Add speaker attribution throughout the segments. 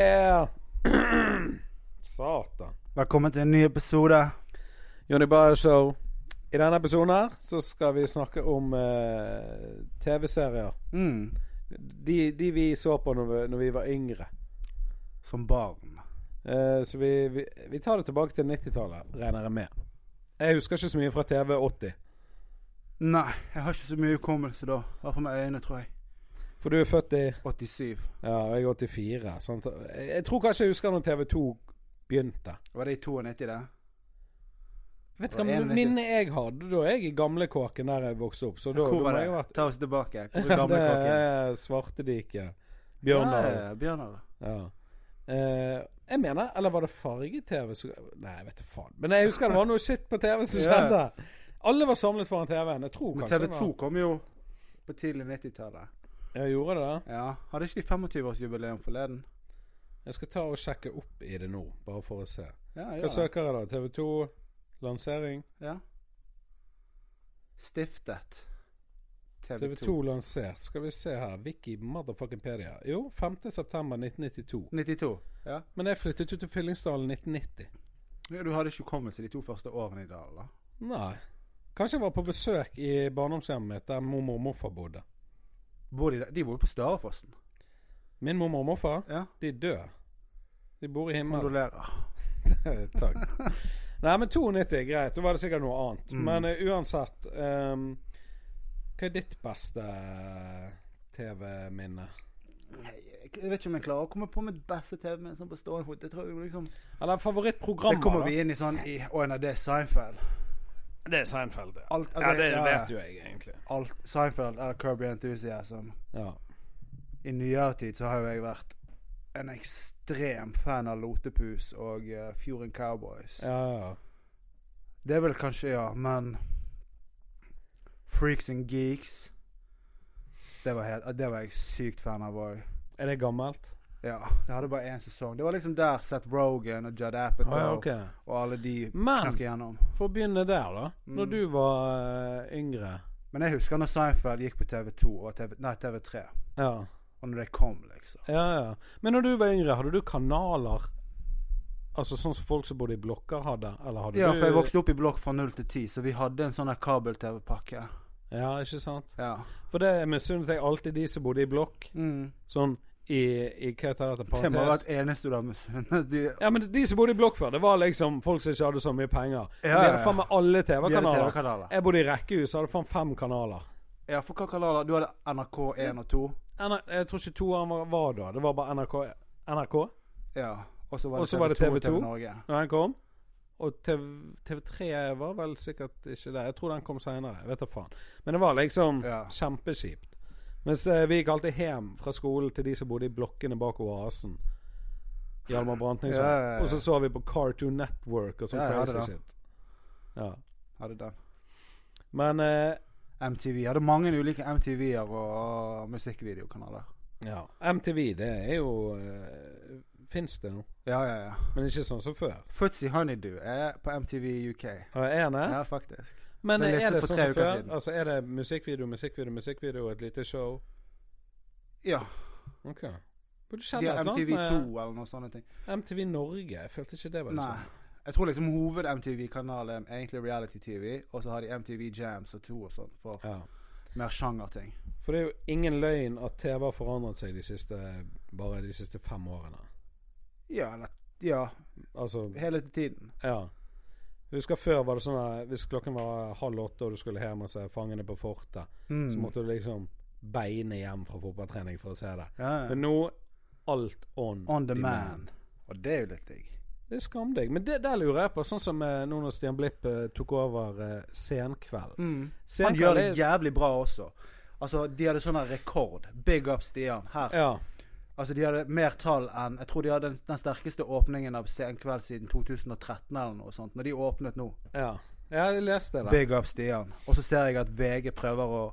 Speaker 1: Satan.
Speaker 2: Velkommen til en ny episode.
Speaker 1: Jonny Bayer Show. I denne episoden her så skal vi snakke om eh, TV-serier.
Speaker 2: Mm.
Speaker 1: De, de vi så på når vi, når vi var yngre.
Speaker 2: Som barn.
Speaker 1: Eh, så vi, vi, vi tar det tilbake til 90-tallet, regner jeg med. Jeg husker ikke så mye fra TV80.
Speaker 2: Nei, jeg har ikke så mye hukommelse da. Bare på med øynene, tror jeg.
Speaker 1: For du er født i
Speaker 2: 87.
Speaker 1: Ja, jeg er 84. Sant? Jeg, jeg tror kanskje jeg husker når TV2 begynte.
Speaker 2: Var det i 92, det?
Speaker 1: Vet du
Speaker 2: Og
Speaker 1: hva
Speaker 2: 91.
Speaker 1: minnet jeg hadde? Da er jeg i gamlekåken der jeg vokste opp. Så da, da
Speaker 2: Hvor var
Speaker 1: må
Speaker 2: det?
Speaker 1: jeg ha vært
Speaker 2: Ta oss tilbake.
Speaker 1: Ja,
Speaker 2: Hvor er
Speaker 1: Det
Speaker 2: gamlekåken?
Speaker 1: er Svartediket. Bjørnar.
Speaker 2: Ja, ja, Bjørnar.
Speaker 1: Ja. Eh, jeg mener Eller var det farge-TV? som- Nei, jeg vet da faen. Men jeg husker det var noe shit på TV som
Speaker 2: Ja.
Speaker 1: skjedde. Alle var samlet foran TV-en. Jeg tror
Speaker 2: Men
Speaker 1: kanskje
Speaker 2: TV 2
Speaker 1: det
Speaker 2: kom jo på tidlig 90-tallet.
Speaker 1: var Jeg gjorde det.
Speaker 2: Ja. Hadde ikke de 25-årsjubileum forleden?
Speaker 1: Jeg skal ta og sjekke opp i det nå, bare for å se.
Speaker 2: Ja,
Speaker 1: Hva
Speaker 2: ja.
Speaker 1: søker jeg da? TV2? Lansering?
Speaker 2: ja. Stiftet TV 2.
Speaker 1: TV2 lansert. Skal vi se her. Wiki motherfucking pedia. Jo, 5.9.1992.
Speaker 2: 92. Ja.
Speaker 1: Men jeg flyttet ut til Fyllingsdalen 1990.
Speaker 2: ja. Du hadde ikke hukommelse de to første årene i dag, da?
Speaker 1: Nei. Kanskje jeg var på besøk i barndomshjemmet mitt, der mormor og morfar bodde.
Speaker 2: Bor de, der? de bor jo på Starefossen.
Speaker 1: Min mormor og morfar
Speaker 2: Ja.
Speaker 1: De er døde. De bor i himmelen.
Speaker 2: Kondolerer.
Speaker 1: Takk. Nei, men 92 er greit. Da var det sikkert noe annet.
Speaker 2: Mm.
Speaker 1: Men eh, uansett ehm, Hva er ditt beste eh, TV-minne?
Speaker 2: Nei, Jeg jeg vet ikke om jeg klarer å komme på mitt beste TV med sånn på stående fot. Jeg tror jo liksom
Speaker 1: Eller
Speaker 2: Det
Speaker 1: favorittprogrammer?
Speaker 2: kommer
Speaker 1: da?
Speaker 2: vi inn i sånn i Å nei, det er Seinfeld.
Speaker 1: Det er Seinfeld. Ja,
Speaker 2: Alt, altså,
Speaker 1: ja det
Speaker 2: ja,
Speaker 1: vet jo jeg, egentlig.
Speaker 2: Alt, Seinfeld eller Kirby Enthusiasm.
Speaker 1: Ja.
Speaker 2: I nyere tid så har jo jeg vært en ekstrem fan av Lotepus og eh, Fjorden Cowboys.
Speaker 1: Ja, ja.
Speaker 2: Det er vel kanskje, ja, men Freaks and Geeks Det var, helt, det var jeg sykt fan av òg.
Speaker 1: Er det gammelt?
Speaker 2: Ja, det hadde bare én sesong. Det var liksom der Seth Rogan og Judd Apatow
Speaker 1: Ah,
Speaker 2: og alle de
Speaker 1: Men
Speaker 2: knakk igjennom.
Speaker 1: for å begynne der, da. Når
Speaker 2: Mm.
Speaker 1: du var eh, yngre
Speaker 2: Men jeg husker når Seinfeld gikk på TV2 og TV, nei, TV3.
Speaker 1: ja.
Speaker 2: Og når det kom, liksom.
Speaker 1: ja, ja. Men når du var yngre, hadde du kanaler? Altså sånn som folk som bodde i blokker hadde? Eller hadde
Speaker 2: Ja,
Speaker 1: du
Speaker 2: for jeg vokste opp i blokk fra 0 til 10, så vi hadde en sånn her kabel-TV-pakke.
Speaker 1: Ja, ikke sant?
Speaker 2: Ja.
Speaker 1: For det misunnet jeg alltid de som bodde i blokk. Sånn i, i Hva heter dette?
Speaker 2: Det må ha
Speaker 1: Parentes.
Speaker 2: vært eneste du har misunnet. De-
Speaker 1: Ja, men de som bodde i blokk før, det var liksom folk som ikke hadde så mye penger. de
Speaker 2: Ja,
Speaker 1: hadde
Speaker 2: ja, ja.
Speaker 1: faen meg alle
Speaker 2: Vi hadde
Speaker 1: TV-kanaler.
Speaker 2: TV-kanaler.
Speaker 1: jeg bodde i rekkehus, hadde faen fem kanaler.
Speaker 2: Ja, for hva kanaler? Du hadde NRK1 og 2.
Speaker 1: N jeg tror ikke toeren var, var da. Det var bare NRK. NRK
Speaker 2: Ja. Og så var
Speaker 1: Og
Speaker 2: det
Speaker 1: så var det
Speaker 2: TV2 og
Speaker 1: TV2.
Speaker 2: TV Norge.
Speaker 1: når den kom. Og TV, TV3 var vel sikkert ikke det. Jeg tror den kom seinere. Vet da faen. Men det var liksom
Speaker 2: Ja.
Speaker 1: kjempekjipt. Mens eh, vi gikk alltid hjem fra skolen til de som bodde i blokkene bak oasen. Hjalmar Brantning.
Speaker 2: Ja, ja, ja.
Speaker 1: Og så så vi på Cartoon Network og sånn
Speaker 2: Ja, jeg hadde
Speaker 1: crazy
Speaker 2: det.
Speaker 1: shit. Ja.
Speaker 2: Hadde den.
Speaker 1: Men eh,
Speaker 2: MTV. Hadde mange ulike MTV-er og musikkvideokanaler.
Speaker 1: ja. MTV, det er jo eh, Fins det nå?
Speaker 2: Ja, ja, ja.
Speaker 1: Men ikke sånn som før.
Speaker 2: Footsy Honeydew er på MTV UK.
Speaker 1: Ja, Er det?
Speaker 2: Ja, faktisk.
Speaker 1: Men
Speaker 2: Jeg
Speaker 1: eh,
Speaker 2: leste
Speaker 1: er det
Speaker 2: for
Speaker 1: sånn
Speaker 2: tre
Speaker 1: som
Speaker 2: uker
Speaker 1: før?
Speaker 2: siden.
Speaker 1: Altså, er det musikkvideo, musikkvideo, musikkvideo, et lite show?
Speaker 2: Ja.
Speaker 1: Ok. Burde
Speaker 2: De
Speaker 1: skjedd
Speaker 2: har
Speaker 1: et eller annet
Speaker 2: MTV2
Speaker 1: med
Speaker 2: eller noe sånne ting.
Speaker 1: MTV Norge. Jeg følte ikke det var det
Speaker 2: Nei.
Speaker 1: samme.
Speaker 2: Jeg tror liksom hoved-MTV-kanalen er egentlig reality-TV, og så har de MTV Jams og to og sånn for
Speaker 1: Ja.
Speaker 2: mer sjangerting.
Speaker 1: For det er jo ingen løgn at TV har forandret seg de siste bare de siste fem årene.
Speaker 2: Ja, eller Ja,
Speaker 1: Altså,
Speaker 2: hele tiden.
Speaker 1: ja. Husker før var det sånn at hvis klokken var halv åtte og du skulle hjem og se Fangene på fortet,
Speaker 2: Mm.
Speaker 1: så måtte du liksom beine hjem fra fotballtrening for å se det.
Speaker 2: Ja, ja.
Speaker 1: Men nå alt on,
Speaker 2: On the
Speaker 1: demand.
Speaker 2: man. Og det er jo litt digg.
Speaker 1: Det er skamdigg. Men det der lurer jeg på, sånn som eh, nå når Stian Blipp eh, tok over eh, Senkveld.
Speaker 2: Mm. Han
Speaker 1: Senkveld
Speaker 2: gjør det
Speaker 1: er-
Speaker 2: jævlig bra også. Altså, de hadde sånn her rekord. Big up Stian her.
Speaker 1: Ja.
Speaker 2: Altså, de hadde mer tall enn Jeg tror de hadde den, den sterkeste åpningen av Sen kveld siden 2013 eller noe sånt. Når de åpnet nå.
Speaker 1: Ja, jeg leste det.
Speaker 2: Big up Stian. Og så ser jeg at VG prøver å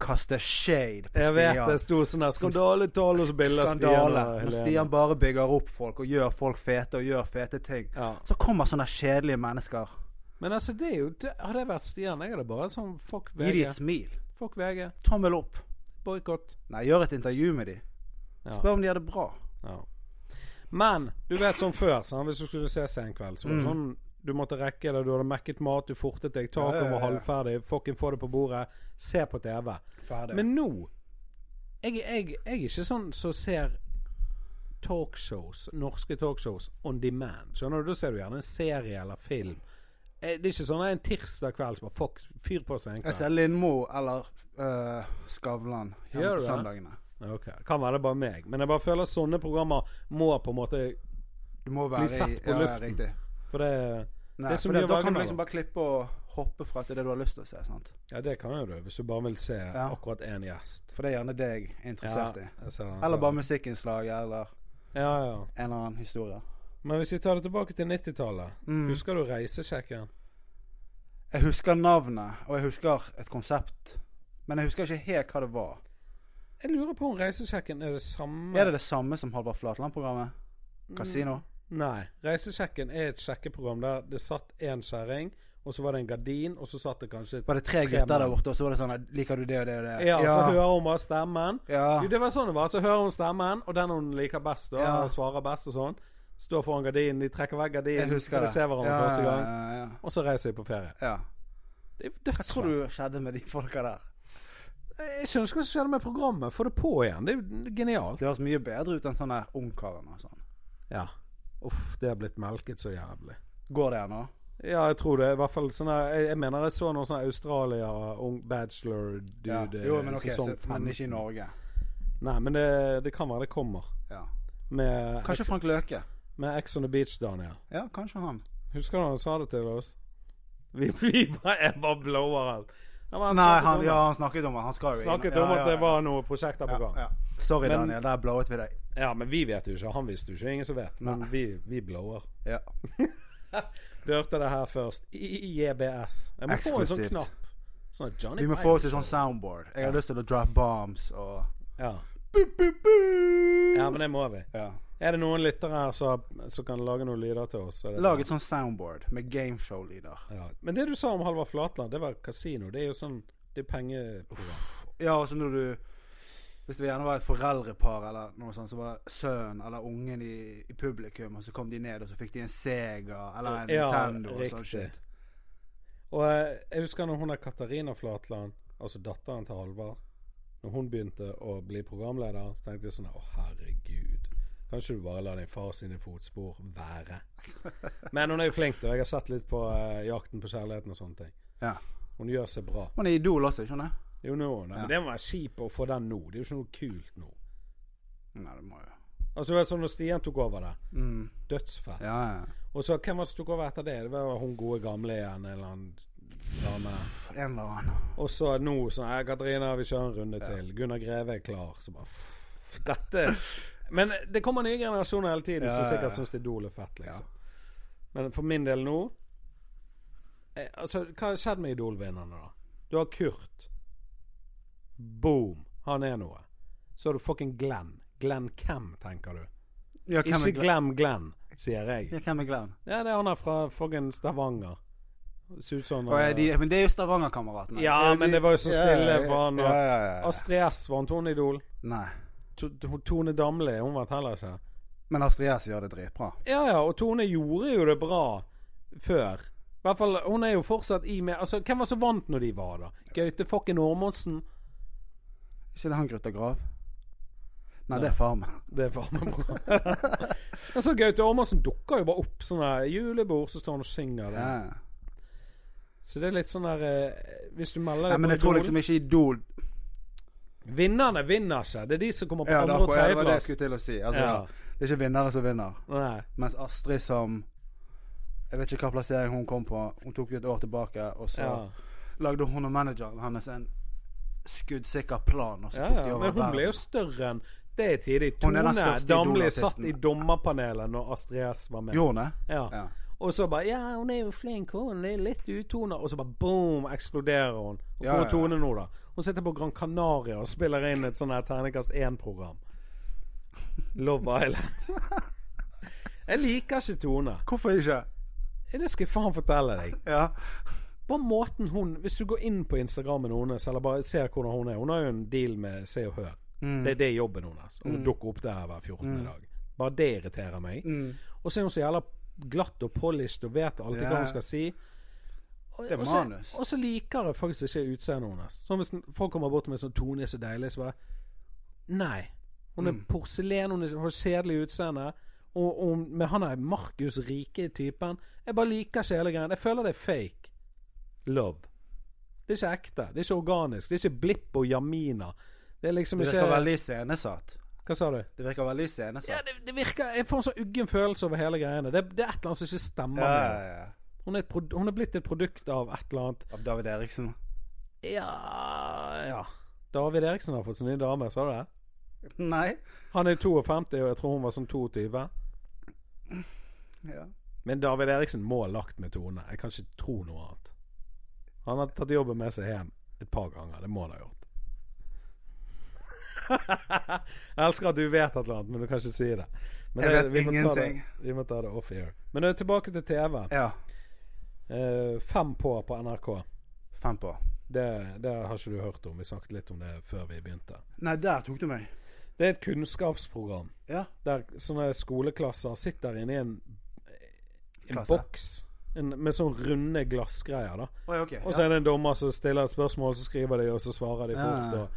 Speaker 2: kaste shade på
Speaker 1: Jeg vet det
Speaker 2: Stian.
Speaker 1: sto sånn der skandaletall og så bilder av
Speaker 2: Skandale.
Speaker 1: og
Speaker 2: Når
Speaker 1: Helene.
Speaker 2: Stian bare bygger opp folk og gjør folk fete og gjør fete ting,
Speaker 1: Ja.
Speaker 2: så kommer sånne kjedelige mennesker.
Speaker 1: Men altså, det er jo det, Hadde jeg vært Stian, jeg hadde bare sånn Fuck
Speaker 2: Gi de
Speaker 1: VG.
Speaker 2: et smil.
Speaker 1: Fuck VG.
Speaker 2: Tommel opp.
Speaker 1: Boikott.
Speaker 2: Nei, gjør et intervju med de.
Speaker 1: Ja.
Speaker 2: Spør om de har det bra.
Speaker 1: Ja. Men du vet sånn før, sant? hvis du skulle se seg en kveld, så var det sånn du måtte rekke det. Du hadde mekket mat, du fortet deg,
Speaker 2: Mm. Ja, ja,
Speaker 1: taket
Speaker 2: ja,
Speaker 1: var
Speaker 2: ja.
Speaker 1: halvferdig, fucking få det på bordet, se på TV.
Speaker 2: Ferdig.
Speaker 1: Men nå jeg, jeg, jeg er ikke sånn som ser talkshows, norske talkshows on demand. Skjønner du? Da ser du gjerne en serie eller film. Eh, Det er ikke sånn at en tirsdag kveld så bare fuck, fyr på seg en
Speaker 2: jeg
Speaker 1: kveld.
Speaker 2: ser Lindmo eller øh, Skavlan
Speaker 1: Gjør
Speaker 2: hjemme
Speaker 1: du
Speaker 2: på
Speaker 1: det?
Speaker 2: søndagene.
Speaker 1: Ok, Kan være det bare meg. Men jeg bare føler at sånne programmer må på en måte
Speaker 2: Du må være
Speaker 1: satt
Speaker 2: i-
Speaker 1: på
Speaker 2: ja, ja,
Speaker 1: luften.
Speaker 2: riktig.
Speaker 1: For det
Speaker 2: Nei,
Speaker 1: Det er så
Speaker 2: for
Speaker 1: mye å
Speaker 2: da
Speaker 1: velge
Speaker 2: kan du
Speaker 1: mellom.
Speaker 2: liksom bare klippe og hoppe fra til det du har lyst til å se. sant?
Speaker 1: Ja, det kan jo du, hvis du bare vil se akkurat én gjest.
Speaker 2: For det er gjerne det jeg er interessert i.
Speaker 1: jeg ser den.
Speaker 2: Eller bare musikkinnslag eller
Speaker 1: Ja, ja.
Speaker 2: en eller annen historie.
Speaker 1: Men hvis vi tar det tilbake til 90-tallet,
Speaker 2: Mm.
Speaker 1: husker du Reisesjekken?
Speaker 2: Jeg husker navnet, og jeg husker et konsept. Men jeg husker ikke helt hva det var.
Speaker 1: Jeg lurer på om Reisesjekken er det samme
Speaker 2: Er det det samme som Halvard Flatland-programmet?
Speaker 1: Mm.
Speaker 2: Casino?
Speaker 1: Nei. Reisesjekken er et sjekkeprogram der det satt én kjerring, og så var det en gardin, og så satt det kanskje et
Speaker 2: Var det tre
Speaker 1: Tre
Speaker 2: gutter der
Speaker 1: mann.
Speaker 2: borte, og så var det sånn Liker du det og det og det?
Speaker 1: Ja, så
Speaker 2: ja.
Speaker 1: hører hun bare stemmen.
Speaker 2: ja.
Speaker 1: Jo, det var sånn det var. Så hører hun stemmen, og den hun liker best, da,
Speaker 2: Ja.
Speaker 1: og svarer best og sånn. Står foran gardinen, de trekker vekk
Speaker 2: Jeg
Speaker 1: gardinen,
Speaker 2: husker det.
Speaker 1: de se hverandre
Speaker 2: ja,
Speaker 1: første gang,
Speaker 2: Ja, ja,
Speaker 1: og så reiser de på ferie.
Speaker 2: ja.
Speaker 1: Det er jo
Speaker 2: Hva
Speaker 1: dødsbra.
Speaker 2: tror du skjedde med de folka der?
Speaker 1: Jeg skjønner ikke hva som skjedde med programmet. Få det på igjen. Det er jo genialt.
Speaker 2: Det høres mye bedre ut enn sånn der Ungkaren og sånn.
Speaker 1: Ja. Uff, det har blitt melket så jævlig.
Speaker 2: Går det ennå?
Speaker 1: Ja, jeg tror det. I hvert fall sånne Jeg, jeg mener jeg så noen sånne Australia ung
Speaker 2: Ja.
Speaker 1: bachelor-dude
Speaker 2: Jo, men ok,
Speaker 1: sesong
Speaker 2: så, men
Speaker 1: fem.
Speaker 2: ikke i Norge.
Speaker 1: Nei, men det, det kan være det kommer.
Speaker 2: Ja.
Speaker 1: Med,
Speaker 2: Kanskje Frank Løke?
Speaker 1: med Ex on the Beach, Daniel.
Speaker 2: Ja, kanskje han.
Speaker 1: Husker du han sa det til oss? Vi, vi bare, jeg bare blower alt. Ja, men han
Speaker 2: Nei,
Speaker 1: snakket
Speaker 2: han,
Speaker 1: om-
Speaker 2: ja, han snakket om det. Han skal jo inn.
Speaker 1: Snakket
Speaker 2: ja,
Speaker 1: om
Speaker 2: ja,
Speaker 1: at det
Speaker 2: ja.
Speaker 1: var noen prosjekter på gang.
Speaker 2: ja, ja. Sorry,
Speaker 1: Men-
Speaker 2: Daniel. Der blowet vi deg.
Speaker 1: Ja, men vi vet jo ikke. Han visste jo ikke. Ingen som vet. Men
Speaker 2: Nei.
Speaker 1: vi, vi blower.
Speaker 2: Ja.
Speaker 1: Du hørte det her først. IBS. Jeg må få en sånn
Speaker 2: Eksklusivt.
Speaker 1: knapp. Sånn Johnny
Speaker 2: Vi må
Speaker 1: Pine
Speaker 2: få oss et
Speaker 1: Show.
Speaker 2: sånn soundboard. Jeg har lyst til å drop bombs og
Speaker 1: ja. ja, men det må vi.
Speaker 2: ja.
Speaker 1: Er det noen lyttere her som, som kan lage noen lyder til oss? så er det
Speaker 2: Lag et sånn soundboard med gameshow-lyder.
Speaker 1: bra. ja. Men det du sa om Halvard Flatland, det var kasino. Det er jo sånn Det er pengeprogram.
Speaker 2: Ja, og så når du Hvis det gjerne var et foreldrepar eller noe sånt, så var sønnen eller ungen i, i publikum, og så kom de ned, og så fikk de en Sega eller en
Speaker 1: Ja,
Speaker 2: Nintendo og
Speaker 1: riktig.
Speaker 2: sånn shit.
Speaker 1: Og eh, jeg husker når hun der Katarina Flatland, altså datteren til Halvard Når hun begynte å bli programleder, så tenkte jeg sånn Å, herregud. Kan ikke du bare la din far sine fotspor være? Men hun er jo flink, da. Jeg har sett litt på eh, Jakten på kjærligheten og sånne ting.
Speaker 2: Ja.
Speaker 1: Hun gjør seg bra.
Speaker 2: Hun er Idol også, ikke sant?
Speaker 1: Jo, nå, er hun det. Men det må være kjipt å få den nå. Det er jo ikke noe kult nå.
Speaker 2: Nei, det må jo
Speaker 1: Altså, det var sånn når Stian tok over det.
Speaker 2: mm.
Speaker 1: Dødsfett.
Speaker 2: Ja, ja.
Speaker 1: Og så hvem var det som tok over etter det? Det var hun gode gamle igjen, en eller annen dame.
Speaker 2: Pff, En eller annen.
Speaker 1: Og så nå sånn «Eh, Katarina, vi kjører en runde til. Gunnar Greve er klar. Så bare pff, Dette Men det kommer nye generasjoner hele tiden
Speaker 2: Ja,
Speaker 1: som
Speaker 2: ja, ja.
Speaker 1: sikkert syns Idol er fett, liksom. Men for min del nå eh, Altså, hva har skjedd med Idol-vinnerne, da? Du har Kurt. Boom. Han er noe. Så har du fucking Glenn. Glenn hvem, tenker du?
Speaker 2: Ja, hvem
Speaker 1: Ikke
Speaker 2: er Glenn?
Speaker 1: glem Glenn, sier jeg.
Speaker 2: Ja, hvem er Glenn?
Speaker 1: Ja, det er han her fra fucking Stavanger. Ser ut som
Speaker 2: Og er
Speaker 1: eh,
Speaker 2: de, men det er jo Stavanger-kameratene.
Speaker 1: Ja,
Speaker 2: er
Speaker 1: men
Speaker 2: de-
Speaker 1: det var jo så stille
Speaker 2: Ja, ja,
Speaker 1: for han og-
Speaker 2: Ja, ja, ja.
Speaker 1: Astrid S vant, hun Idol.
Speaker 2: Nei.
Speaker 1: To- to- Tone Damli, hun vant heller ikke.
Speaker 2: Men Astrid S gjør det dritbra.
Speaker 1: Ja ja, og Tone gjorde jo det bra før. I hvert fall, hun er jo fortsatt i med Altså, hvem var så vant når de var, da? Gaute fucking Ormodsen?
Speaker 2: Ikke det han Grutta Grav? Nei, det er Farmen.
Speaker 1: Det er faen meg bra. altså, Gaute Ormodsen dukker jo bare opp sånn der julebord, så står han og synger det.
Speaker 2: Ja. ja.
Speaker 1: Så det er litt sånn der eh, Hvis du melder
Speaker 2: Nei,
Speaker 1: deg
Speaker 2: men
Speaker 1: på
Speaker 2: jeg tror
Speaker 1: Idol
Speaker 2: liksom ikke Idol
Speaker 1: Vinnerne vinner ikke. Det er de som kommer på
Speaker 2: Ja, det
Speaker 1: andre-
Speaker 2: er
Speaker 1: og
Speaker 2: akkurat det var det jeg
Speaker 1: tredjeplass.
Speaker 2: skulle til å si. Altså,
Speaker 1: Ja.
Speaker 2: Det er ikke vinnere som vinner.
Speaker 1: Nei.
Speaker 2: Mens Astrid som Jeg vet ikke hva plassering hun kom på. Hun tok jo et år tilbake, og så
Speaker 1: Ja.
Speaker 2: lagde hun og manageren hennes en skuddsikker plan. Og så
Speaker 1: Ja,
Speaker 2: tok de
Speaker 1: ja.
Speaker 2: over
Speaker 1: Men hun
Speaker 2: verden.
Speaker 1: ble jo større enn det er tidlig.
Speaker 2: Hun er
Speaker 1: Tone
Speaker 2: den største
Speaker 1: Damli
Speaker 2: idolartisten.
Speaker 1: satt i dommerpanelet når Astrid S var med.
Speaker 2: Gjorde hun det?
Speaker 1: Ja.
Speaker 2: Ja.
Speaker 1: Og så bare Ja, hun er jo flink, hun er litt utona. Og så bare boom, eksploderer hun. Og
Speaker 2: Ja,
Speaker 1: hvor
Speaker 2: ja,
Speaker 1: er
Speaker 2: ja.
Speaker 1: Tone nå, da? Hun sitter på Gran Canaria og spiller inn et sånn her Terningkast 1-program. Love Island. Jeg liker ikke Tone.
Speaker 2: Hvorfor ikke?
Speaker 1: Det skal jeg faen fortelle deg.
Speaker 2: Ja.
Speaker 1: Bare måten hun Hvis du går inn på Instagrammen hennes, eller bare ser hvordan
Speaker 2: Mm.
Speaker 1: hun er Hun har jo en deal med Se og Hør. Det er det jobben hennes. Hun dukker opp der hver 14. dag. Bare det irriterer meg.
Speaker 2: Mm.
Speaker 1: Og så er hun så jævla glatt og polished og vet alltid
Speaker 2: Ja.
Speaker 1: hva hun skal si. Og,
Speaker 2: Det er
Speaker 1: og så-
Speaker 2: manus.
Speaker 1: Og så liker jeg faktisk ikke utseendet hennes. Sånn Hvis folk kommer bort med sånn 'Tone er så deilig', så bare Nei. Hun er
Speaker 2: Mm.
Speaker 1: porselen, hun er- har kjedelig utseende. Og, og med han der Markus Rike-typen Jeg bare liker ikke hele greien. Jeg føler det er fake love. Det er ikke ekte. Det er ikke organisk. Det er ikke Blipp og Jamina. Det er liksom
Speaker 2: Det
Speaker 1: ikke
Speaker 2: virker veldig scenesatt.
Speaker 1: Hva sa du?
Speaker 2: Det virker veldig scenesatt.
Speaker 1: Ja, det, det virker Jeg får en sånn uggen følelse over hele greiene. Det, det er et eller annet som ikke stemmer.
Speaker 2: ja,
Speaker 1: med det.
Speaker 2: ja, ja.
Speaker 1: Hun er, et prod- hun er blitt et produkt av et eller annet
Speaker 2: Av David Eriksen.
Speaker 1: Ja ja. David Eriksen har fått sin nye dame, sa du det?
Speaker 2: Nei.
Speaker 1: Han er 52, og jeg tror hun var sånn 22.
Speaker 2: Ja.
Speaker 1: Men David Eriksen må ha lagt med Tone. Jeg kan ikke tro noe annet. Han har tatt jobben med seg hjem et par ganger. Det må han ha gjort. jeg elsker at du vet et eller annet, men du kan ikke si det. Men
Speaker 2: Jeg
Speaker 1: det-
Speaker 2: vet
Speaker 1: vi må ta
Speaker 2: ingenting.
Speaker 1: Det, vi må ta det off air. Men eh, tilbake til TV.
Speaker 2: ja.
Speaker 1: Eh, fem på på NRK.
Speaker 2: Fem på.
Speaker 1: Det, det har ikke du hørt om. Vi snakket litt om det før vi begynte.
Speaker 2: Nei, der tok du meg.
Speaker 1: Det er et kunnskapsprogram
Speaker 2: Ja.
Speaker 1: der sånne skoleklasser sitter inne i en, en
Speaker 2: Klasse.
Speaker 1: boks en, med sånn runde glassgreier. da
Speaker 2: Oi, ok.
Speaker 1: Og så er det en dommer som stiller et spørsmål, så skriver de, og så svarer de
Speaker 2: Ja.
Speaker 1: fort. Og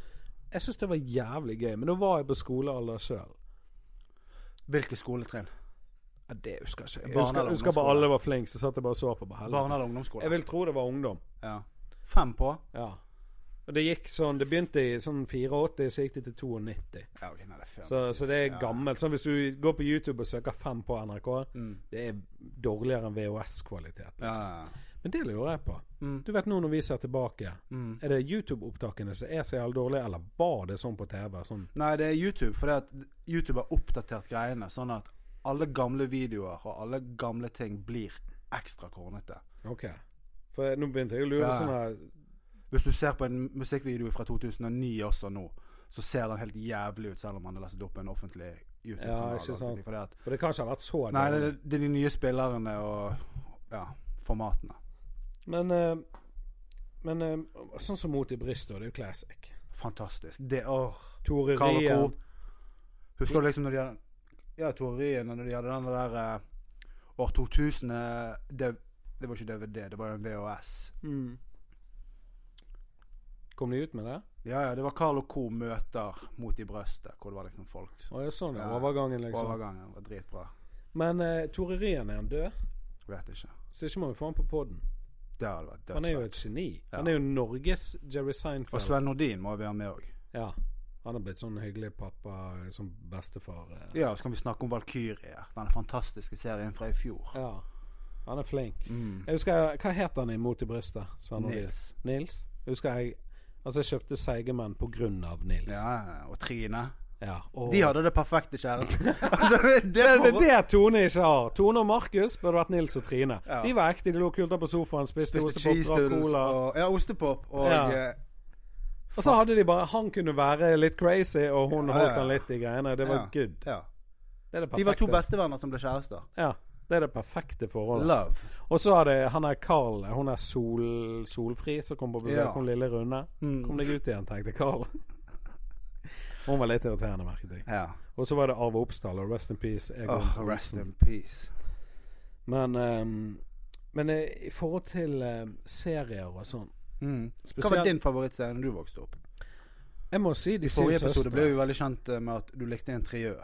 Speaker 1: jeg syns det var jævlig gøy, men da var jeg på skolealder sjøl.
Speaker 2: ja. Hvilke skoletrinn?
Speaker 1: Ja, det husker jeg ikke. Jeg
Speaker 2: Barne-
Speaker 1: husker,
Speaker 2: eller
Speaker 1: jeg husker bare
Speaker 2: ungdomsskole?
Speaker 1: alle var flinke, så satt jeg bare og så på. på helvete.
Speaker 2: Barne- eller
Speaker 1: Jeg
Speaker 2: ungdomsskole?
Speaker 1: vil tro det var ungdom.
Speaker 2: Ja. Fem på?
Speaker 1: Ja. Og det gikk sånn Det begynte i sånn 84, så gikk det til 92.
Speaker 2: Ja, ok. Nei, det er fem.
Speaker 1: Så, så det er
Speaker 2: Ja.
Speaker 1: gammelt. Sånn hvis du går på YouTube og søker 5 på NRK,
Speaker 2: Mm.
Speaker 1: det er dårligere enn VHS-kvalitet.
Speaker 2: Ja.
Speaker 1: Liksom.
Speaker 2: ja, ja.
Speaker 1: Men det lurer jeg på.
Speaker 2: Mm.
Speaker 1: Du vet nå når vi ser tilbake,
Speaker 2: Mm.
Speaker 1: er det YouTube-opptakene som er så jævlig dårlige, eller var det sånn på TV? Sånn
Speaker 2: Nei, det er YouTube, fordi at YouTube har oppdatert greiene sånn at alle gamle videoer og alle gamle ting blir ekstra kornete.
Speaker 1: OK. For nå begynte jeg å lure
Speaker 2: Ja.
Speaker 1: sånn her
Speaker 2: Hvis du ser på en musikkvideo fra 2009 også nå, så ser den helt jævlig ut selv om han har lastet opp på en offentlig YouTube-kanal.
Speaker 1: Ja, ikke sant.
Speaker 2: alltid, fordi at-
Speaker 1: For det kan ikke ha vært så
Speaker 2: Nei,
Speaker 1: dårlig.
Speaker 2: det, det er de nye spillerne og ja, formatene.
Speaker 1: Men, eh, men eh, sånn som Mot i brystet, det er jo classic.
Speaker 2: Fantastisk. Det åh.
Speaker 1: Tore
Speaker 2: Karl og
Speaker 1: Rien.
Speaker 2: Co. Husker du liksom når de hadde Ja, teorien og når de hadde den der eh, år 2000 eh, det, det var ikke DVD, det var en VHS.
Speaker 1: Mm. Kom de ut med det?
Speaker 2: Ja, ja, det var Carl og Co. møter mot i brøstet, hvor det var liksom folk som
Speaker 1: Å, ja, sånn, ja.
Speaker 2: Ja.
Speaker 1: Overgangen, liksom.
Speaker 2: Overgangen var dritbra.
Speaker 1: Men eh, Tore Ryen, er han død?
Speaker 2: Vet ikke.
Speaker 1: Så ikke må vi få han på poden.
Speaker 2: Det hadde vært
Speaker 1: Han er jo
Speaker 2: dødsfett.
Speaker 1: et geni.
Speaker 2: Ja.
Speaker 1: Han er jo Norges Jerry
Speaker 2: Og
Speaker 1: Seinfeld.
Speaker 2: Sven Nordin må være med òg.
Speaker 1: Ja. Han har blitt sånn hyggelig pappa, sånn bestefar. eh.
Speaker 2: Ja, og så kan vi snakke om Valkyrie, den fantastiske serien fra i fjor.
Speaker 1: ja. Han er flink.
Speaker 2: Mm.
Speaker 1: Jeg husker, Hva het han i Mot i brystet? Sven Nordin?
Speaker 2: Nils.
Speaker 1: Nils? Jeg husker jeg Altså, jeg kjøpte Seigemenn på grunn av Nils.
Speaker 2: Ja, ja, og Trine.
Speaker 1: Ja, og-
Speaker 2: De hadde det perfekte kjæresten. altså, det,
Speaker 1: det er
Speaker 2: var-
Speaker 1: det Tone ikke har. Tone og Markus burde vært Nils og Trine.
Speaker 2: Ja.
Speaker 1: De var ekte. De lå kulter på sofaen, spiste,
Speaker 2: Spiste
Speaker 1: ostepop,
Speaker 2: cheese
Speaker 1: drakk
Speaker 2: doodles
Speaker 1: cola.
Speaker 2: og ja, ostepop. Og
Speaker 1: Ja.
Speaker 2: eh,
Speaker 1: Og så hadde de bare Han kunne være litt crazy, og hun
Speaker 2: Ja, ja,
Speaker 1: holdt
Speaker 2: ja.
Speaker 1: han litt i greiene. Det var
Speaker 2: ja,
Speaker 1: good.
Speaker 2: Ja.
Speaker 1: Det er det
Speaker 2: De var to
Speaker 1: perfekte.
Speaker 2: bestevenner som ble kjærester.
Speaker 1: Ja, det er det perfekte forholdet.
Speaker 2: Love.
Speaker 1: Og så har det han der Carl, hun er sol, solfri, som kom på besøk,
Speaker 2: Ja.
Speaker 1: hun lille runde.
Speaker 2: Mm.
Speaker 1: Kom deg ut igjen, tenkte Carl. Hun var litt irriterende, merket jeg.
Speaker 2: Ja.
Speaker 1: Og så var det Arve Oppsdal og Rest in Peace. Egon
Speaker 2: Åh,
Speaker 1: Olsen.
Speaker 2: rest in peace.
Speaker 1: Men, ehm, men eh, i forhold til eh, serier og sånn
Speaker 2: Mm. Hva
Speaker 1: Spesielt
Speaker 2: var din favorittscene da du vokste opp?
Speaker 1: Jeg må si De
Speaker 2: I
Speaker 1: syv
Speaker 2: forrige episode ble
Speaker 1: søstre.
Speaker 2: vi veldig kjent eh, med at du likte interiør.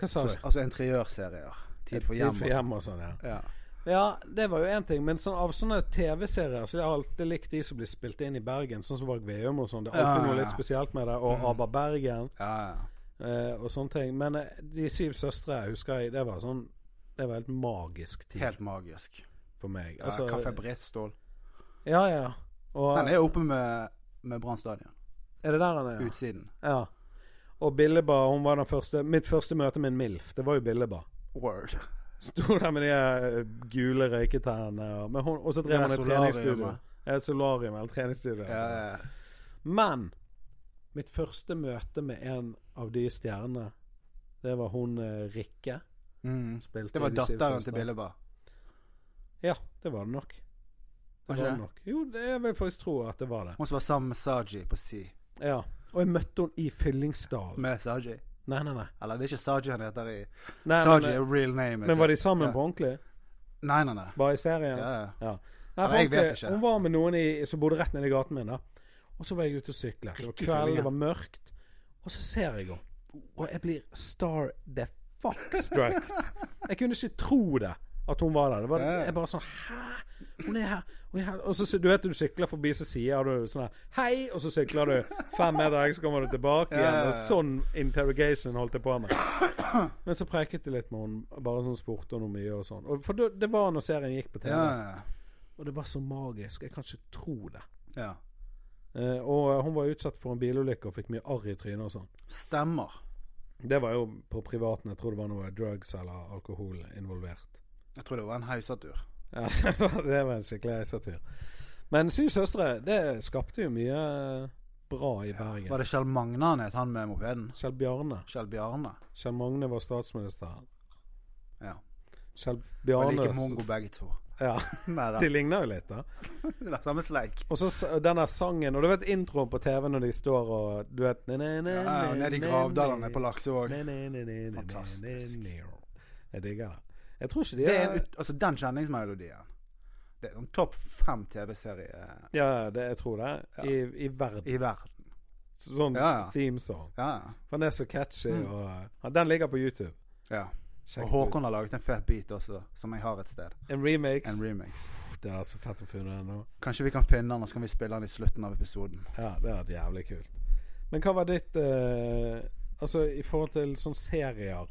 Speaker 1: Hva sa du?
Speaker 2: Altså interiørserier. Tid for hjem.
Speaker 1: Tid for
Speaker 2: og sånt.
Speaker 1: hjem og sånn, ja.
Speaker 2: Ja.
Speaker 1: Ja, det var jo én ting, men sånn, av sånne TV-serier så har jeg alltid likt de som blir spilt inn i Bergen, sånn som Varg Veum og sånn. Det er alltid
Speaker 2: Ja, ja,
Speaker 1: noe
Speaker 2: ja.
Speaker 1: litt spesielt med det. Og Abba Bergen
Speaker 2: Ja, ja.
Speaker 1: eh, og sånne ting. Men eh, De syv søstre husker jeg, det var sånn Det var helt magisk tid
Speaker 2: Helt magisk.
Speaker 1: for meg.
Speaker 2: Ja, Kaffe Bristol.
Speaker 1: ja, Altså, ja. Og
Speaker 2: Den er oppe med, med Brann stadion.
Speaker 1: er det der han er? Ja.
Speaker 2: Utsiden.
Speaker 1: ja. Og Billeba, hun var den første Mitt første møte med en MILF, det var jo Billeba.
Speaker 2: Word.
Speaker 1: Sto der med de eh, gule røyketærne, og, men hun- og så drev
Speaker 2: Det er
Speaker 1: hun et
Speaker 2: solarium,
Speaker 1: treningsstudio.
Speaker 2: ja.
Speaker 1: Ja, Et solarium eller treningsstudio.
Speaker 2: Ja, ja.
Speaker 1: Men mitt første møte med en av de stjernene, det var hun eh, Rikke.
Speaker 2: Mm.
Speaker 1: Spilte
Speaker 2: Det var
Speaker 1: i De syv
Speaker 2: datteren
Speaker 1: søstre.
Speaker 2: til Billeba.
Speaker 1: Ja, det var det nok.
Speaker 2: Var
Speaker 1: Det var
Speaker 2: ikke
Speaker 1: det
Speaker 2: det?
Speaker 1: nok. Jo, det jeg vil faktisk tro at det var det.
Speaker 2: Hun som var sammen med Saji på Si.
Speaker 1: Ja. Og jeg møtte henne i Fyllingsdalen.
Speaker 2: Med Saji.
Speaker 1: Nei, nei, nei.
Speaker 2: Eller det er ikke Saji han heter i
Speaker 1: nei men, eh,
Speaker 2: Saji er real name.
Speaker 1: men var de sammen
Speaker 2: Ja.
Speaker 1: på ordentlig?
Speaker 2: Nei, nei, nei.
Speaker 1: Bare i serien?
Speaker 2: Ja, ja.
Speaker 1: Ja.
Speaker 2: Ja,
Speaker 1: Nei, for
Speaker 2: jeg vet
Speaker 1: ordentlig,
Speaker 2: ikke.
Speaker 1: Hun var med noen i, som bodde rett nedi gaten min. da Og så var jeg ute og syklet. Det var
Speaker 2: Ikke
Speaker 1: kveld,
Speaker 2: følge.
Speaker 1: det var mørkt. Og så ser jeg henne. Og jeg blir star the fuck struck. Jeg kunne ikke tro det, at hun var der. Det var,
Speaker 2: Ja.
Speaker 1: jeg bare sånn Hæ? Hun er her. Hun er her. Og så du vet du sykler forbi, så sier du sånn her Hei! Og så sykler du fem meter, så kommer du tilbake
Speaker 2: Ja,
Speaker 1: igjen.
Speaker 2: ja, ja.
Speaker 1: Og sånn interrogation holdt jeg på med. Men så preket jeg litt med henne. Bare sånn spurte hun om mye og sånn. Og for det, det var når serien gikk på TV.
Speaker 2: Ja, ja,
Speaker 1: Og det var så magisk. Jeg kan ikke tro det.
Speaker 2: ja.
Speaker 1: Eh, og hun var utsatt for en bilulykke og fikk mye arr i trynet og sånn.
Speaker 2: Stemmer.
Speaker 1: Det var jo på privaten. Jeg tror det var noe drugs eller alkohol involvert.
Speaker 2: Jeg tror det var en heisatur.
Speaker 1: Ja, det var det var en skikkelig heisatur. Men Syv søstre, det skapte jo mye eh, bra i Bergen.
Speaker 2: Var det Kjell Magne han het, han med mopeden?
Speaker 1: Kjell Bjarne.
Speaker 2: Kjell Bjarne.
Speaker 1: Kjell Magne var statsminister.
Speaker 2: Ja.
Speaker 1: Kjell
Speaker 2: Var
Speaker 1: Bjarne
Speaker 2: like mongo begge to.
Speaker 1: Ja,
Speaker 2: Nei da.
Speaker 1: De ligner jo litt, da.
Speaker 2: Det var samme sleik.
Speaker 1: Og så s- den der sangen, og du vet introen på TV når de står og du vet
Speaker 2: Ja, ja, Nede i Gravdalene på Laksevåg.
Speaker 1: Ne, ne, ne, ne, ne,
Speaker 2: Fantastisk.
Speaker 1: ne, ne, ne. Jeg digger det. Jeg tror ikke de
Speaker 2: Det
Speaker 1: er,
Speaker 2: er ut, altså den kjenningsmelodien. Det er en topp fem TV-serie
Speaker 1: Ja, det, jeg tror det.
Speaker 2: Ja.
Speaker 1: I, I verden.
Speaker 2: i verden.
Speaker 1: Sånn
Speaker 2: Ja, ja.
Speaker 1: theme song.
Speaker 2: Ja,
Speaker 1: For den er så catchy.
Speaker 2: Mm.
Speaker 1: Og, ja, den ligger på YouTube.
Speaker 2: ja.
Speaker 1: Sjekk
Speaker 2: Og
Speaker 1: det ut.
Speaker 2: Håkon har laget en fet beat også, som jeg har et sted.
Speaker 1: En remix.
Speaker 2: En remix.
Speaker 1: det er så fett å finne den nå.
Speaker 2: Kanskje vi kan finne den, og så kan vi spille den i slutten av episoden.
Speaker 1: Ja, det hadde vært jævlig kult. Men hva var ditt eh, Altså i forhold til sånne serier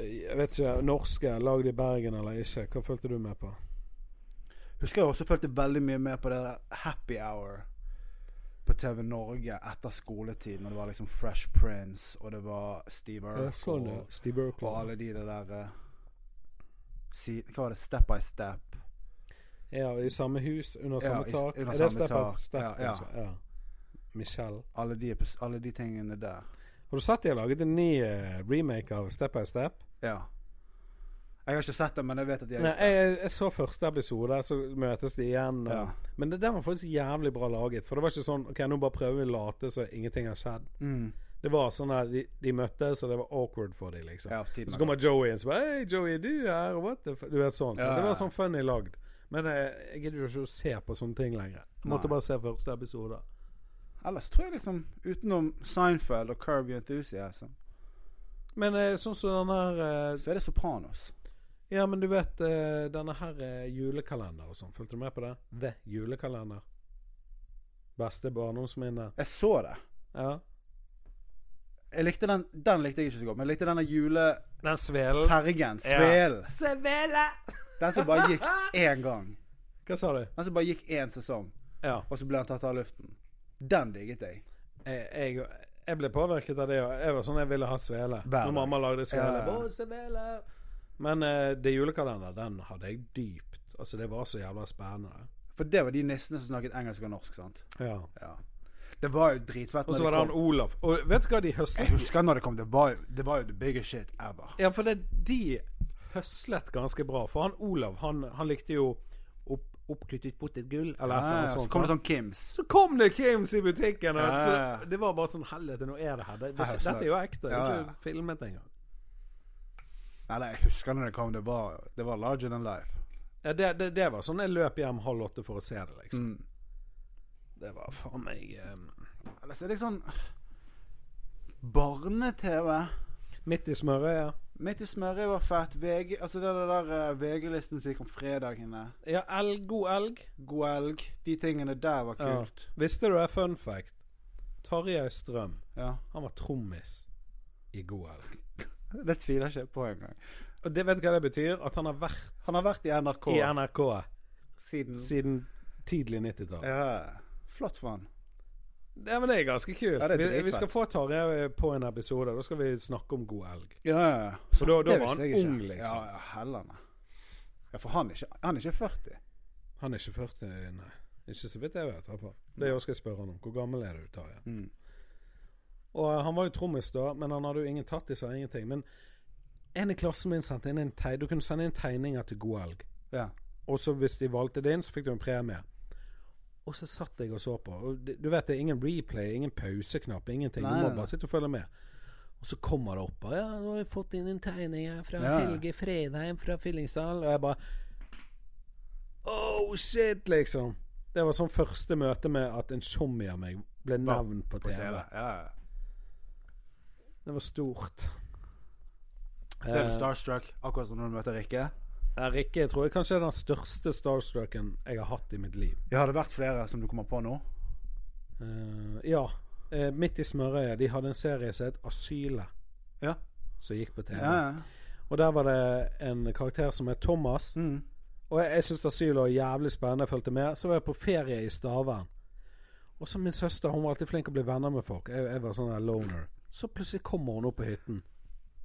Speaker 1: Jeg vet ikke. Norske, lagd i Bergen eller ikke. Hva fulgte du med på?
Speaker 2: Husker jeg også fulgte veldig mye med på det der Happy Hour på TV Norge etter skoletid, når det var liksom Fresh Prince, og det var Steve
Speaker 1: Ja,
Speaker 2: Earth
Speaker 1: sånn, ja.
Speaker 2: og,
Speaker 1: Steve
Speaker 2: og
Speaker 1: Urkel.
Speaker 2: alle de det der eh, si, Hva var det? Step by Step.
Speaker 1: Ja, i samme hus, under samme
Speaker 2: i-
Speaker 1: tak.
Speaker 2: under
Speaker 1: er
Speaker 2: samme
Speaker 1: det step
Speaker 2: tak.
Speaker 1: up step?
Speaker 2: Ja,
Speaker 1: Ja,
Speaker 2: ja.
Speaker 1: ja. Michelle.
Speaker 2: Alle de, epis- alle de tingene der.
Speaker 1: Har du sett de har laget en ny eh, remake av Step by Step?
Speaker 2: Ja. Jeg har ikke sett det, men jeg vet at de har
Speaker 1: Nei,
Speaker 2: gjort det.
Speaker 1: jeg, jeg så første episode, så møtes de igjen. Og,
Speaker 2: Ja.
Speaker 1: Men det, den var faktisk jævlig bra laget. For det var ikke sånn OK, nå bare prøver vi å late så ingenting har skjedd.
Speaker 2: Mm.
Speaker 1: Det var sånn at de, de møttes, og det var awkward for dem, liksom.
Speaker 2: Ja, tiden
Speaker 1: Så
Speaker 2: har
Speaker 1: kommer Joey inn og bare Hei, Joey, du er her, what the f Du vet sånn.
Speaker 2: Ja.
Speaker 1: Så det var sånn funny lagd. Men eh, jeg gidder jo ikke å se på sånne ting lenger. Måtte
Speaker 2: Nei.
Speaker 1: bare se første episode.
Speaker 2: gått. Ellers tror jeg liksom utenom Seinfeld og Curb Your Enthusiasm,
Speaker 1: Men eh, sånn som den her eh,
Speaker 2: så er det Sopranos.
Speaker 1: Ja, men du vet eh, denne her eh, julekalender og sånn. Fulgte du med på det? The julekalender. Beste barndomsminne.
Speaker 2: Jeg så det.
Speaker 1: Ja.
Speaker 2: Jeg likte den, den likte jeg ikke så godt, men jeg likte denne julefergen.
Speaker 1: Den svelen.
Speaker 2: Svelen.
Speaker 1: Svele!
Speaker 2: Den som bare gikk én gang.
Speaker 1: Hva sa du?
Speaker 2: Den som bare gikk én sesong,
Speaker 1: Ja.
Speaker 2: og så ble han tatt av luften. Den digget jeg.
Speaker 1: Jeg, Eh, jeg, jeg ble påvirket av det. og Jeg var sånn jeg ville ha svele.
Speaker 2: Hver
Speaker 1: Når mamma lagde svele.
Speaker 2: Ja, ja, ja.
Speaker 1: Å, svele! Men eh, det julekalender, den hadde jeg dypt. Altså, det var så jævla spennende.
Speaker 2: For det var de nissene som snakket engelsk og norsk, sant?
Speaker 1: Ja.
Speaker 2: Ja. Det var jo dritfett.
Speaker 1: Og
Speaker 2: når
Speaker 1: så var det
Speaker 2: kom.
Speaker 1: han Olaf. Og vet du hva de høslet?
Speaker 2: Jeg husker når det kom. Det var, jo- det var jo the biggest shit ever.
Speaker 1: Ja, for det, de høslet ganske bra. For han Olav, han, han likte jo opp, oppknyttet potetgull, eller et
Speaker 2: Ja,
Speaker 1: eller
Speaker 2: ja,
Speaker 1: annet
Speaker 2: så
Speaker 1: sånt.
Speaker 2: kom det
Speaker 1: sant?
Speaker 2: sånn Kims.
Speaker 1: Så kom det Kims i butikken, og
Speaker 2: Ja,
Speaker 1: så
Speaker 2: ja, ja.
Speaker 1: det var bare sånn Helvete, nå er det her. Det, det,
Speaker 2: Her høslet.
Speaker 1: dette er jo ekte. Det
Speaker 2: Ja,
Speaker 1: er
Speaker 2: ja.
Speaker 1: ikke filmet engang.
Speaker 2: Nei, nei, jeg husker når det kom. Det var, det var larger than life.
Speaker 1: Ja, det, det, det var sånn jeg løp hjem halv åtte for å se det, liksom.
Speaker 2: Mm.
Speaker 1: Det var faen meg eh,
Speaker 2: Ellers er det sånn Barne-TV.
Speaker 1: Midt i smørøyet.
Speaker 2: Midt i smørøyet var fett. VG, altså det der eh, VG-listen som gikk om fredagene.
Speaker 1: Ja, elg, god elg.
Speaker 2: God elg. De tingene der var
Speaker 1: Ja.
Speaker 2: kult.
Speaker 1: Visste du det? Fun fact. Tarjei Strøm,
Speaker 2: Ja.
Speaker 1: han var trommis i God elg.
Speaker 2: Det tviler ikke jeg på engang.
Speaker 1: Og det vet du hva det betyr? At han har vært
Speaker 2: Han har vært i NRK
Speaker 1: i NRK.
Speaker 2: siden
Speaker 1: siden tidlig 90-tall.
Speaker 2: Ja. Flott for han.
Speaker 1: Ja, men det er ganske kult.
Speaker 2: Ja, det er
Speaker 1: vi,
Speaker 2: dritfett.
Speaker 1: vi skal få Tarjei eh, på en episode. Da skal vi snakke om god elg.
Speaker 2: Ja.
Speaker 1: For da- da
Speaker 2: Det
Speaker 1: var han
Speaker 2: visste jeg ikke.
Speaker 1: ung, liksom.
Speaker 2: Ja, ja, hellene. Ja, for han er ikke, han er ikke 40.
Speaker 1: Han er ikke 40, nei. Ikke så vidt jeg vet. i hvert fall. Det jeg også skal spørre han om. Hvor gammel er du, Tarjei?
Speaker 2: Mm.
Speaker 1: Og eh, Han var jo trommis da, men han hadde jo ingen tattiser, ingenting. Men en i klassen min sendte inn en tegning. Du kunne sende inn tegninger til god elg.
Speaker 2: Ja.
Speaker 1: Og så hvis de valgte din, så fikk du en premie. Og så satt jeg og så på. Og det- du vet, det er ingen replay, ingen pauseknapp, ingenting.
Speaker 2: Nei,
Speaker 1: du
Speaker 2: nei,
Speaker 1: må
Speaker 2: nei.
Speaker 1: bare sitte og følge med. Og så kommer det opp og Ja, nå har vi fått inn en tegning her fra
Speaker 2: Ja.
Speaker 1: Helge Fredheim fra Fyllingsdalen. Og jeg bare Oh shit, liksom. Det var sånn første møte med at en zombie av meg ble nevnt på
Speaker 2: på
Speaker 1: TV.
Speaker 2: TV. Ja, ja.
Speaker 1: Det var stort.
Speaker 2: Det er du
Speaker 1: Eh,
Speaker 2: starstruck, akkurat som når du møter Rikke.
Speaker 1: Ja, Rikke Eh, jeg tror jeg kanskje er den største starstrucken jeg har hatt i mitt liv.
Speaker 2: Ja, har det vært flere som du kommer på nå?
Speaker 1: Eh, ja. eh, midt i smørøyet. De hadde en serie som het Asylet,
Speaker 2: Ja.
Speaker 1: som gikk på TV.
Speaker 2: ja, ja.
Speaker 1: Og der var det en karakter som het Thomas.
Speaker 2: Mm.
Speaker 1: Og jeg, jeg syntes Asylet var jævlig spennende. Jeg fulgte med. Så var jeg på ferie i Stavern. Og så min søster hun var alltid flink å bli venner med folk. Jeg, jeg var sånn der loner. Så plutselig kommer hun opp på hytten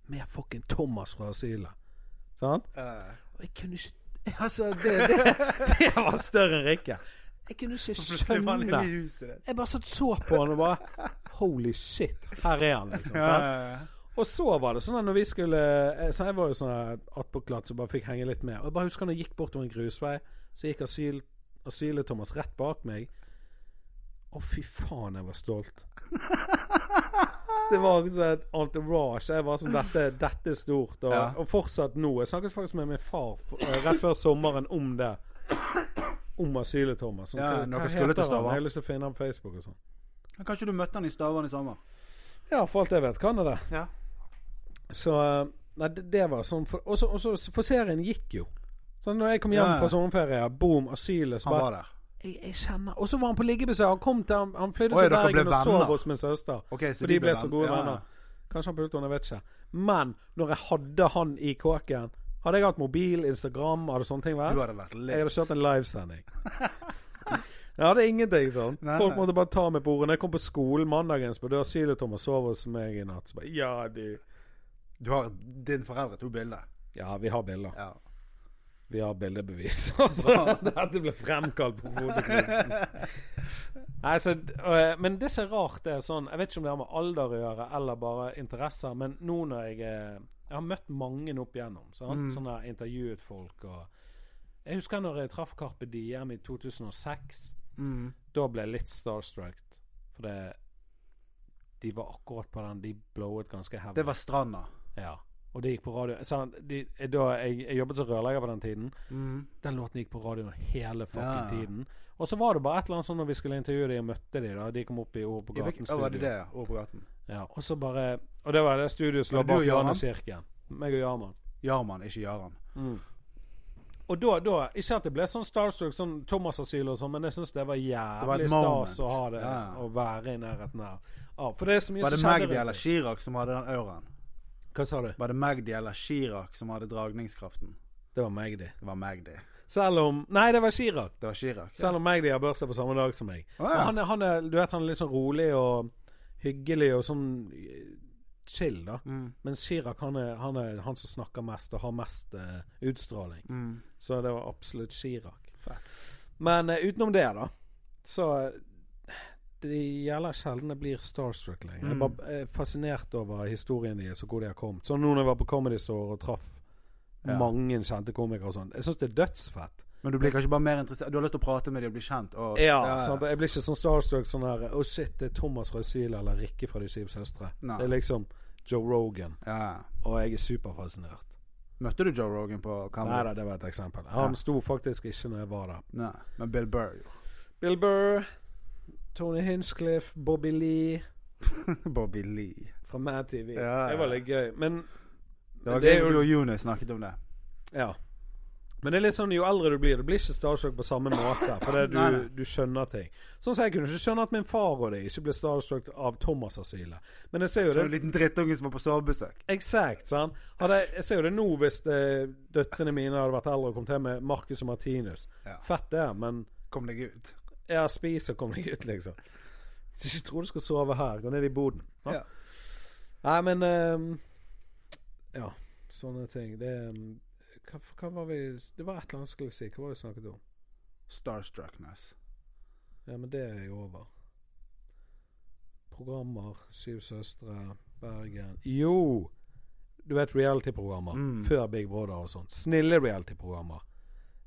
Speaker 1: med fucking Thomas fra Asylet. Sant?
Speaker 2: Eh,
Speaker 1: Og jeg kunne ikke Altså, det, det, det var større enn Rikke. Jeg kunne ikke
Speaker 2: plutselig var han
Speaker 1: skjønne
Speaker 2: inne i huset ditt.
Speaker 1: Jeg bare satt så på han og bare Holy shit, her er han, liksom.
Speaker 2: Ja,
Speaker 1: Sant?
Speaker 2: ja, ja.
Speaker 1: Og så var det sånn at når vi skulle eh, Så jeg var jo sånn attpåklatt så bare fikk henge litt med. Og jeg bare husker når jeg gikk bortover en grusvei, så gikk asyl, asylet-Thomas rett bak meg. Å, fy faen, jeg var stolt. Det var sånn entourage. Jeg var sånn Dette, dette er stort. Og,
Speaker 2: Ja.
Speaker 1: og fortsatt nå. Jeg snakket faktisk med min far eh, rett før sommeren om det. Om asylet-Thomas. Sånn,
Speaker 2: Ja,
Speaker 1: hva-
Speaker 2: noe
Speaker 1: hva
Speaker 2: skulle
Speaker 1: heter
Speaker 2: til
Speaker 1: han?
Speaker 2: Stavang.
Speaker 1: Jeg har lyst til å finne ham på Facebook og sånn.
Speaker 2: Men Kanskje du møtte han i Stavern i sommer?
Speaker 1: Ja, for alt jeg vet, kan jeg det.
Speaker 2: Ja.
Speaker 1: Så eh, Nei, det, det var sånn for, Og så- og så For serien gikk jo. Så når jeg kom hjem
Speaker 2: Ja, ja.
Speaker 1: fra sommerferie, boom, asylet, så
Speaker 2: Han
Speaker 1: bare
Speaker 2: var der.
Speaker 1: jeg, jeg kjenner Og så var han på liggebesøk. Han kom til Han, han flydde
Speaker 2: Oi,
Speaker 1: til
Speaker 2: dere ble
Speaker 1: Bergen og sov
Speaker 2: venner.
Speaker 1: hos min søster.
Speaker 2: Ok,
Speaker 1: For de ble
Speaker 2: venn-
Speaker 1: så gode
Speaker 2: ja, ja.
Speaker 1: venner. Kanskje han pulte henne, jeg vet ikke. Men når jeg hadde han i kåken Hadde jeg hatt mobil, Instagram, hadde sånne ting vært
Speaker 2: Du hadde vært
Speaker 1: Jeg hadde
Speaker 2: litt
Speaker 1: kjørt en livesending. Jeg hadde ingenting sånn.
Speaker 2: Nei,
Speaker 1: Folk
Speaker 2: nei.
Speaker 1: måtte bare ta meg på ordene. Jeg kom på skolen mandagens på dør Syletom og sov hos meg i natt. Så bare, ja, du.
Speaker 2: Du har din foreldre to bilder.
Speaker 1: Ja, vi har bilder.
Speaker 2: Ja.
Speaker 1: Vi har bildebevis. Altså, dette ble fremkalt på hodeknisen. Nei, så, øh, men det som er rart, det er sånn Jeg vet ikke om det har med alder å gjøre eller bare interesser, men nå når jeg er- Jeg har møtt mange opp igjennom. Sant?
Speaker 2: Mm.
Speaker 1: Sånn der intervjuet folk og Jeg husker når jeg traff Carpe Diem i 2006.
Speaker 2: Mm.
Speaker 1: Da ble jeg litt starstruck. For det De var akkurat på den. De blowet ganske heavy.
Speaker 2: Det var Stranda.
Speaker 1: Ja. Og det gikk på radio. sant? de, da jeg, jeg jobbet som rørlegger på den tiden.
Speaker 2: Mm.
Speaker 1: Den låten gikk på radioen hele fucking
Speaker 2: Ja.
Speaker 1: tiden. Og så var det bare et eller annet sånn når vi skulle intervjue de og møtte de da. De kom opp i Ord på
Speaker 2: I hvilken-
Speaker 1: gaten
Speaker 2: Å, var det
Speaker 1: studio.
Speaker 2: det? Over på gaten.
Speaker 1: Ja, og så bare Og det var det studioet som
Speaker 2: Var
Speaker 1: lå
Speaker 2: det du
Speaker 1: bak
Speaker 2: og Jarman?
Speaker 1: Johanneskirken. Meg og Jarman.
Speaker 2: Jarman, ikke Jaran.
Speaker 1: Og da, da Ikke at det ble sånn starstruck, sånn Thomas Asyl og sånn, men jeg syns det var
Speaker 2: var et
Speaker 1: jævlig stas
Speaker 2: moment.
Speaker 1: å ha det.
Speaker 2: Ja.
Speaker 1: Å være i nærheten her. Ja, for det er så mye
Speaker 2: Var det
Speaker 1: som skjedde
Speaker 2: Magdi
Speaker 1: rundt
Speaker 2: eller
Speaker 1: det.
Speaker 2: Chirag som hadde den auraen?
Speaker 1: Hva sa du?
Speaker 2: Var det Magdi eller Chirag som hadde dragningskraften?
Speaker 1: Det var Magdi.
Speaker 2: Det var Magdi.
Speaker 1: Selv om Nei, det var Chirag.
Speaker 2: Det var Chirag. ja.
Speaker 1: Selv om Magdi har bursdag på samme dag som meg.
Speaker 2: Å, ja.
Speaker 1: Men han er, han er, du vet, han er litt sånn rolig og hyggelig og sånn eh, chill, da.
Speaker 2: Mm.
Speaker 1: Men Chirag han er, han er han som snakker mest og har mest eh, utstråling.
Speaker 2: Mm.
Speaker 1: Så det var absolutt Chirag.
Speaker 2: Fett.
Speaker 1: Men eh, utenom det, da, så eh, det gjelder sjelden jeg blir starstruck lenger. Jeg er
Speaker 2: Mm.
Speaker 1: bare eh, fascinert over historien deres og hvor de har kommet. Sånn nå når jeg var på Comedy Store og traff
Speaker 2: Ja.
Speaker 1: mange kjente komikere og sånn. Jeg syns det er dødsfett.
Speaker 2: Men du blir kanskje bare mer interessert Du har lyst til å prate med dem og bli kjent? Og,
Speaker 1: Ja, sant? Jeg blir ikke sånn starstruck sånn her Å, shit, det er Thomas fra Asyl eller Rikke fra De syv søstre.
Speaker 2: Nei.
Speaker 1: Det er liksom Joe Rogan,
Speaker 2: ja.
Speaker 1: og jeg er superfascinert.
Speaker 2: Møtte du Joe Rogan på
Speaker 1: Nei da,
Speaker 2: kamera?
Speaker 1: det var et eksempel. Han
Speaker 2: Ja.
Speaker 1: sto faktisk ikke når jeg var der.
Speaker 2: Nei. Men Bill Burr, jo.
Speaker 1: Bill Burr, Tony Hinchcliffe, Bobby Lee
Speaker 2: Bobby Lee.
Speaker 1: fra Mad TV.
Speaker 2: Ja, ja.
Speaker 1: Det var litt gøy. Men
Speaker 2: Det var
Speaker 1: Det er
Speaker 2: gøy
Speaker 1: jo-
Speaker 2: du og Juni snakket om det.
Speaker 1: ja. Men det er litt sånn, jo eldre du blir, du blir ikke starstruck på samme måte. For det,
Speaker 2: Nei,
Speaker 1: du,
Speaker 2: nei.
Speaker 1: du skjønner ting. Sånn som jeg kunne ikke skjønne at min far og de ikke ble starstruck av Thomas-asylet. Men jeg ser jo
Speaker 2: Det
Speaker 1: det
Speaker 2: var en liten drittunge som var på sovebesøk.
Speaker 1: Eksakt. sant? Hadde, jeg- jeg ser jo det nå hvis eh, døtrene mine hadde vært eldre og kommet hjem med Marcus og Martinus.
Speaker 2: Ja.
Speaker 1: Fett det, men
Speaker 2: Kom deg ut.
Speaker 1: jeg spiser og kommer deg ut, liksom. Så ikke tror du skal sove her. Gå ned i boden. Ja.
Speaker 2: Ja.
Speaker 1: Nei, men ehm, Ja, sånne ting. Det ehm, hva, hva var vi Det var et eller annet jeg skulle si. Hva var det vi snakket om?
Speaker 2: Starstruckness.
Speaker 1: Ja, men det er jo over. Programmer. Syv søstre. Bergen. Jo! Du vet reality-programmer.
Speaker 2: Mm.
Speaker 1: Før Big Brother og sånn. Snille reality-programmer.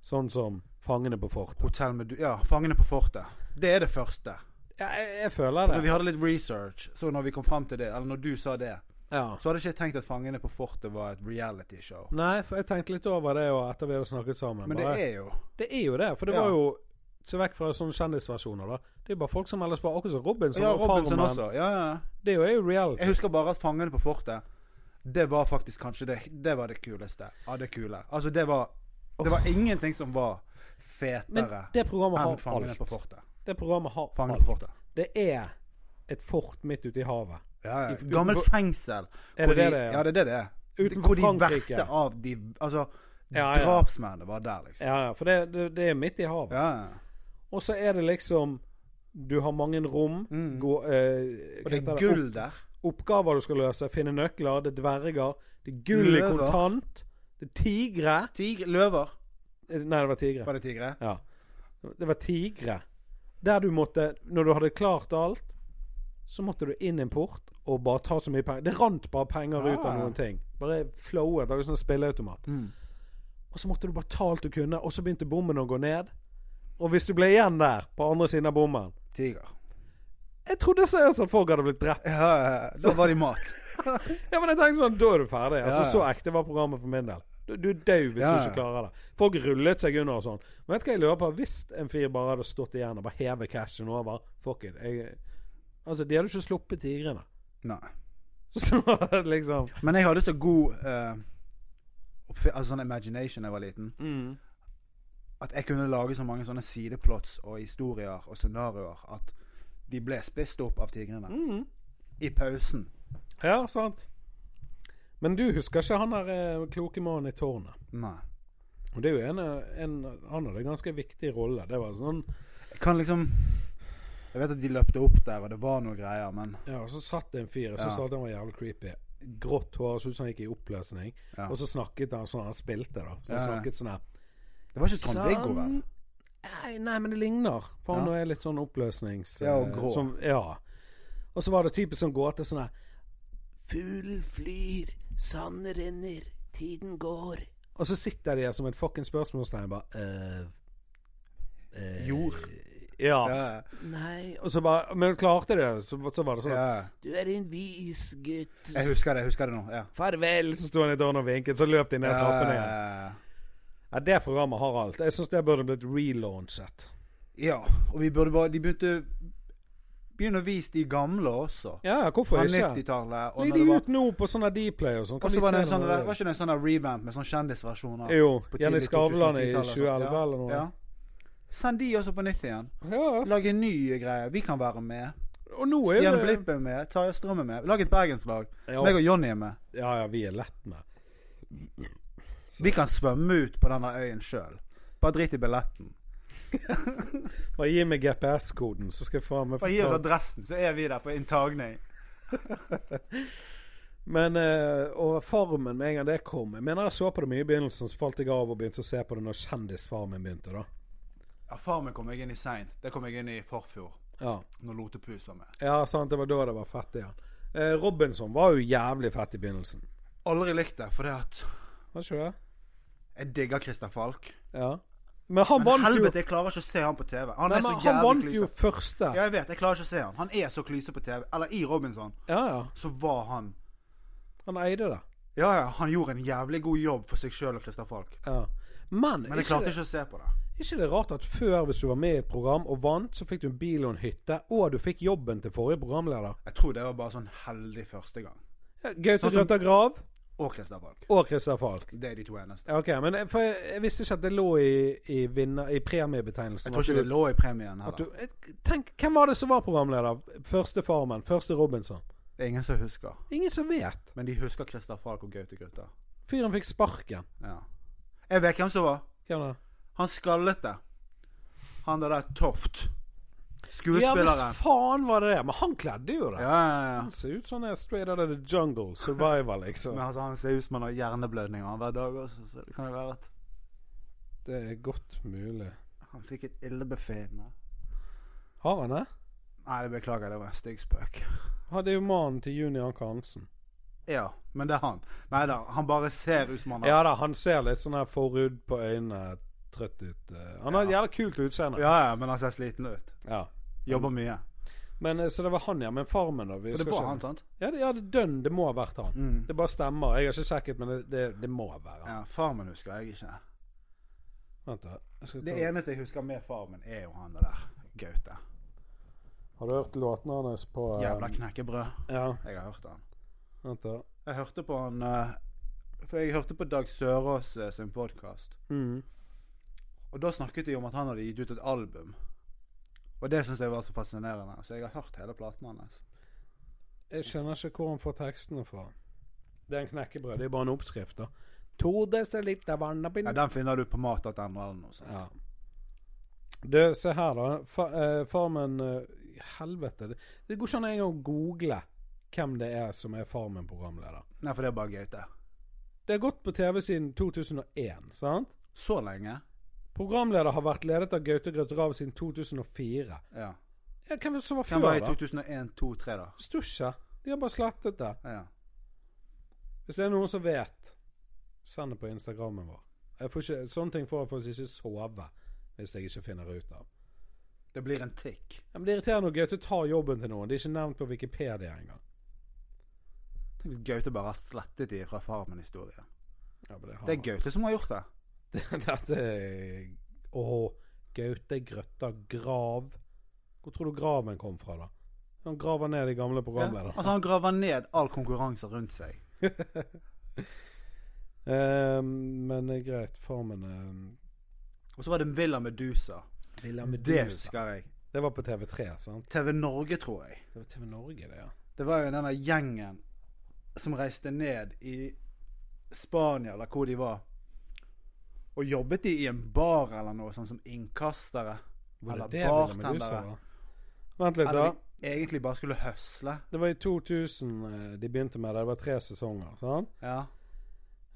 Speaker 1: Sånn som Fangene på fortet.
Speaker 2: Hotell med du... Ja, Fangene på fortet. Det er det første.
Speaker 1: Ja, jeg, jeg føler
Speaker 2: Når
Speaker 1: det.
Speaker 2: vi hadde litt research, så når vi kom fram til det, eller når du sa det,
Speaker 1: Ja.
Speaker 2: Så hadde jeg ikke tenkt at 'Fangene på fortet' var et realityshow.
Speaker 1: Nei, for jeg tenkte litt over det og etter vi hadde snakket sammen.
Speaker 2: Men det
Speaker 1: bare,
Speaker 2: er jo
Speaker 1: det er jo det. For det
Speaker 2: Ja.
Speaker 1: var jo Se vekk fra sånne kjendisversjoner, da. Det er jo bare folk som melder på. Akkurat som Robinson.
Speaker 2: Ja,
Speaker 1: og
Speaker 2: Robinson
Speaker 1: Farmen.
Speaker 2: også. Ja, ja.
Speaker 1: Det er jo- er jo reality.
Speaker 2: Jeg husker bare at 'Fangene på fortet' det var faktisk kanskje det Det var det kuleste av det kule. Altså, det var Det var ingenting som var
Speaker 1: Men
Speaker 2: fetere
Speaker 1: det programmet
Speaker 2: enn
Speaker 1: har
Speaker 2: 'Fangene på
Speaker 1: alt.
Speaker 2: fortet'.
Speaker 1: Det programmet har
Speaker 2: Fangene på
Speaker 1: alt.
Speaker 2: fortet.
Speaker 1: Det er et fort midt ute i havet.
Speaker 2: Ja, ja.
Speaker 1: I-
Speaker 2: Gammel
Speaker 1: utenfor-
Speaker 2: fengsel.
Speaker 1: Er
Speaker 2: Hvor
Speaker 1: det det
Speaker 2: de-
Speaker 1: det er?
Speaker 2: Ja, det er det det er.
Speaker 1: Utenfor
Speaker 2: Hvor de
Speaker 1: Frankrike.
Speaker 2: verste av de Altså,
Speaker 1: Ja, ja.
Speaker 2: drapsmennene var der, liksom.
Speaker 1: Ja, ja, for det, det, det er midt i havet.
Speaker 2: Ja, ja.
Speaker 1: Og så er det liksom Du har mange rom.
Speaker 2: Mm.
Speaker 1: Gå, eh,
Speaker 2: Og
Speaker 1: hva
Speaker 2: det
Speaker 1: heter
Speaker 2: er
Speaker 1: det?
Speaker 2: gull der.
Speaker 1: oppgaver du skal løse. Finne nøkler. Det er dverger. Det er gull i
Speaker 2: Løver.
Speaker 1: kontant. Det er tigre.
Speaker 2: Tigre, løver.
Speaker 1: Eh, Nei, det var tigre.
Speaker 2: Var det tigre?
Speaker 1: Ja. Det var tigre. Der du måtte Når du hadde klart alt, så måtte du inn en port og bare ta så mye penger. Det rant bare penger ut av
Speaker 2: Ah.
Speaker 1: noen ting. Bare flowet. Det var sånn spilleautomat.
Speaker 2: Mm.
Speaker 1: Og så måtte du bare ta alt du kunne, og så begynte bommen å gå ned. Og hvis du ble igjen der, på andre siden av bommen
Speaker 2: Tiger.
Speaker 1: Jeg trodde seriøst at folk hadde blitt drept.
Speaker 2: Ja, da var de mat.
Speaker 1: Ja, men jeg tenkte sånn, Da er du ferdig. Altså,
Speaker 2: Ja, ja.
Speaker 1: Så ekte var programmet for min del. Du, du er dau hvis
Speaker 2: Ja,
Speaker 1: du
Speaker 2: ja.
Speaker 1: ikke klarer det. Folk rullet seg under og sånn. Men vet du hva jeg lurer på? Hvis en fyr bare hadde stått igjen og bare hevet cashen over Fuck it. Jeg, altså, de hadde ikke sluppet tigrene.
Speaker 2: Nei.
Speaker 1: Så liksom
Speaker 2: Men jeg hadde så god eh, oppfi- altså sånn imagination da jeg var liten, at jeg kunne lage så mange sånne sideplots og historier og scenarioer at de ble spist opp av tigrene.
Speaker 1: Mhm.
Speaker 2: I pausen.
Speaker 1: Ja, sant. Men du husker ikke han der eh, kloke mannen i tårnet?
Speaker 2: Nei.
Speaker 1: Og det er jo en, eh, en Han hadde en ganske viktig rolle. Det var sånn
Speaker 2: Jeg kan liksom Jeg vet at de løpte opp der, og det var noe greier, men
Speaker 1: Ja, og så satt det en fyr. Jeg syntes
Speaker 2: Ja.
Speaker 1: alltid han var jævlig creepy. Grått hår, så ut som han gikk i oppløsning.
Speaker 2: Ja.
Speaker 1: Og så snakket han sånn. Han spilte, da. Så han
Speaker 2: Ja, ja.
Speaker 1: snakket sånn her.
Speaker 2: det var ikke Trond-Viggo, vel?
Speaker 1: Sånn- Nei, nei, men det ligner. For han
Speaker 2: Ja.
Speaker 1: er litt sånn oppløsnings...
Speaker 2: Ja, og
Speaker 1: eh,
Speaker 2: grå.
Speaker 1: Som, ja. Og så var det typisk sånn gåte sånn her Fuglen flyr, sand renner, tiden går. Og så sitter de her som et fucking spørsmålstegn bare eh, eh,
Speaker 2: Jord.
Speaker 1: Ja.
Speaker 2: Ja.
Speaker 1: Nei. Og så bare Men klarte de det, så, så var det sånn
Speaker 2: ja.
Speaker 1: Du er en vis gutt.
Speaker 2: Jeg husker det jeg husker det nå. Ja.
Speaker 1: Farvel! Så sto han i døren og vinket, så løp de ned trappene igjen.
Speaker 2: eh,
Speaker 1: Ja, Det programmet har alt. Jeg syns det burde blitt relaunchet.
Speaker 2: ja. Og vi burde bare De begynte Begynne å vise de gamle også.
Speaker 1: Ja, hvorfor
Speaker 2: Fra
Speaker 1: ikke?
Speaker 2: 90-tallet. og
Speaker 1: Legg
Speaker 2: når
Speaker 1: de
Speaker 2: det var-
Speaker 1: ut nå på sånne Dplay og sånn.
Speaker 2: Og
Speaker 1: Kan
Speaker 2: så
Speaker 1: vi
Speaker 2: var det
Speaker 1: se
Speaker 2: en sånn,
Speaker 1: det?
Speaker 2: var ikke det en sånn revamp med sånn kjendisversjoner?
Speaker 1: Jo.
Speaker 2: på tidlig
Speaker 1: Jenny Skavlan i
Speaker 2: 2010-tallet og sånt.
Speaker 1: 2011 eller noe.
Speaker 2: Ja. Send de også på nytt igjen.
Speaker 1: Ja.
Speaker 2: Lag en ny greie. Vi kan være med.
Speaker 1: Og nå er
Speaker 2: Stian
Speaker 1: det
Speaker 2: Blipp er med. Tarjei Strøm er med. Lag et bergenslag. Meg
Speaker 1: ja,
Speaker 2: og Jonny er med.
Speaker 1: ja, ja, vi er lett med.
Speaker 2: Vi kan svømme ut på denne øyen sjøl. Bare drit i billetten.
Speaker 1: Bare gi meg GPS-koden, så skal jeg faen meg få
Speaker 2: Bare gi oss
Speaker 1: ta-
Speaker 2: adressen, så er vi der for inntagning.
Speaker 1: Men eh, Og Farmen, med en gang det kom Jeg mener jeg så på det mye i begynnelsen, så falt jeg av og begynte å se på det når Kjendisfarmen begynte, da.
Speaker 2: Ja, Farmen kom jeg inn i seint. Det kom jeg inn i forfjor,
Speaker 1: Ja.
Speaker 2: når Lotepus var med.
Speaker 1: Ja, sant. Det var da det var fett igjen. Eh, Robinson var jo jævlig fett i begynnelsen.
Speaker 2: Aldri likt det, fordi at
Speaker 1: Var ikke det?
Speaker 2: jeg digger Christer Falk.
Speaker 1: Ja. Men han
Speaker 2: Men
Speaker 1: vant jo
Speaker 2: helvete, jeg klarer ikke å se han på TV. Han
Speaker 1: Nei,
Speaker 2: er så
Speaker 1: men han
Speaker 2: jævlig
Speaker 1: vant jo
Speaker 2: klyse.
Speaker 1: første.
Speaker 2: Ja, jeg vet. Jeg klarer ikke å se han. Han er så klyse på TV. Eller i Robinson,
Speaker 1: Ja, ja.
Speaker 2: så var han
Speaker 1: Han eide det.
Speaker 2: Ja, ja, han gjorde en jævlig god jobb for seg sjøl og Christer Falk.
Speaker 1: Ja. Men,
Speaker 2: Men jeg
Speaker 1: ikke,
Speaker 2: klarte
Speaker 1: det,
Speaker 2: ikke å se på det.
Speaker 1: ikke det rart at før, hvis du var med i et program og vant, så fikk du en bil og en hytte, og du fikk jobben til forrige programleder?
Speaker 2: Jeg tror det var bare sånn heldig første gang.
Speaker 1: Ja, Gaute
Speaker 2: Sånn som-
Speaker 1: Grøtta Grav
Speaker 2: Og Christer Falk.
Speaker 1: og Christer Falk.
Speaker 2: Det er de to eneste.
Speaker 1: Ja, OK. Men jeg, for jeg, jeg visste ikke at det lå i, i, vinner, i premiebetegnelsen.
Speaker 2: Jeg tror
Speaker 1: at
Speaker 2: ikke
Speaker 1: du-
Speaker 2: det lå i premien
Speaker 1: at
Speaker 2: heller.
Speaker 1: du, jeg- Tenk, hvem var det som var programleder? Første Farmen? Første Robinson?
Speaker 2: Det er ingen som husker.
Speaker 1: Ingen som vet.
Speaker 2: Men de husker Christer Falk og Gaute Grøtta.
Speaker 1: Fyren fikk sparken.
Speaker 2: Ja. Jeg vet hvem som var.
Speaker 1: Hvem da?
Speaker 2: Han skallete. Han der der Toft.
Speaker 1: Ja, hvis
Speaker 2: Skuespilleren.
Speaker 1: faen var det det? Men han kledde jo det.
Speaker 2: Ja, ja, ja.
Speaker 1: Han ser ut som han er straight out of the jungle. Survivor, liksom.
Speaker 2: Men altså, han ser ut som han har hjerneblødninger hver dag også, så det kan jo være at
Speaker 1: Det er godt mulig.
Speaker 2: Han fikk et illebefinnende.
Speaker 1: Har han det?
Speaker 2: Nei, jeg beklager, det var en stygg spøk.
Speaker 1: Han det er jo mannen til Juni Anker Hansen.
Speaker 2: Ja, men det er han. Nei da, han bare ser ut som han har
Speaker 1: Ja da, han ser litt sånn her forhud på øynene, trøtt ut. eh. Han har et jævla kult utseende.
Speaker 2: ja, ja, men han ser sliten ut.
Speaker 1: Ja.
Speaker 2: Jobber mye.
Speaker 1: Men, eh, så det var han, ja. Men Farmen, da? Vi
Speaker 2: Så det
Speaker 1: skal
Speaker 2: var
Speaker 1: ikke-
Speaker 2: han, sant?
Speaker 1: Ja, det, ja, det er dønn. Det må ha vært han.
Speaker 2: Mm.
Speaker 1: Det bare stemmer. Jeg har ikke sjekket, men det, det, det må være han.
Speaker 2: Ja, Farmen husker jeg ikke.
Speaker 1: Vent da. Jeg skal
Speaker 2: Det
Speaker 1: ta-
Speaker 2: eneste jeg husker med Farmen, er jo han der Gaute.
Speaker 1: Har du hørt låtene hans på eh,
Speaker 2: Jævla knekkebrød.
Speaker 1: Ja,
Speaker 2: Jeg har hørt han.
Speaker 1: vent da.
Speaker 2: Jeg hørte på han eh, For jeg hørte på Dag Sørås eh, sin podkast.
Speaker 1: Mm.
Speaker 2: Og da snakket de om at han hadde gitt ut et album. Og det syns jeg var så fascinerende. Så jeg har hørt hele platen hans.
Speaker 1: Jeg skjønner ikke hvor han får tekstene fra. Det er en knekkebrød. Det er bare en oppskrift, da. To desiliter vann oppi
Speaker 2: Ja, den finner du på mat.no eller noe sånt.
Speaker 1: Ja. Du, se her, da. Fa, eh, Farmen eh, Helvete. Det, det går ikke an engang å google hvem det er som er Farmen-programleder.
Speaker 2: Nei, for det er bare Gaute.
Speaker 1: Det har gått på TV siden 2001, sant?
Speaker 2: Så lenge?
Speaker 1: Programleder har vært ledet av Gaute Grøtrav siden 2004.
Speaker 2: Ja.
Speaker 1: Ja, hvem var det som var
Speaker 2: Hvem
Speaker 1: før,
Speaker 2: var i
Speaker 1: da?
Speaker 2: 2001, 2, 3, da?
Speaker 1: Stusja. De har bare slettet det.
Speaker 2: Ja.
Speaker 1: Hvis det er noen som vet, send det på Instagrammen vår. Jeg får ikke, sånne ting får jeg faktisk ikke sove hvis jeg ikke finner ut av.
Speaker 2: Det blir en tikk.
Speaker 1: Ja, men Det irriterer når Gaute tar jobben til noen. Det er ikke nevnt på Wikipedia engang.
Speaker 2: Tenk hvis Gaute bare har slettet de fra Farmen-historien.
Speaker 1: Ja, men det, har
Speaker 2: Det er
Speaker 1: han.
Speaker 2: Gaute som har gjort det.
Speaker 1: Dette er Åh, Gaute Grøtta Grav. Hvor tror du graven kom fra, da? Han graver ned de gamle programlederne.
Speaker 2: Altså, han graver ned all konkurranse rundt seg.
Speaker 1: Eh, men eh, greit, farmen eh,
Speaker 2: Og så var det en Villa Medusa. Det husker jeg.
Speaker 1: Det var på TV3, sant?
Speaker 2: TV Norge, tror jeg.
Speaker 1: Det var TV Norge, det, ja.
Speaker 2: Det var jo denne gjengen som reiste ned i Spania, eller hvor de var. Og jobbet de i en bar eller noe sånn som innkastere?
Speaker 1: Var det
Speaker 2: eller
Speaker 1: det Villa Medusa
Speaker 2: bartendere?
Speaker 1: var? Vent litt, da.
Speaker 2: Eller de egentlig bare skulle høsle?
Speaker 1: Det var i 2000 eh, de begynte med det. Det var tre sesonger. sant?
Speaker 2: Ja.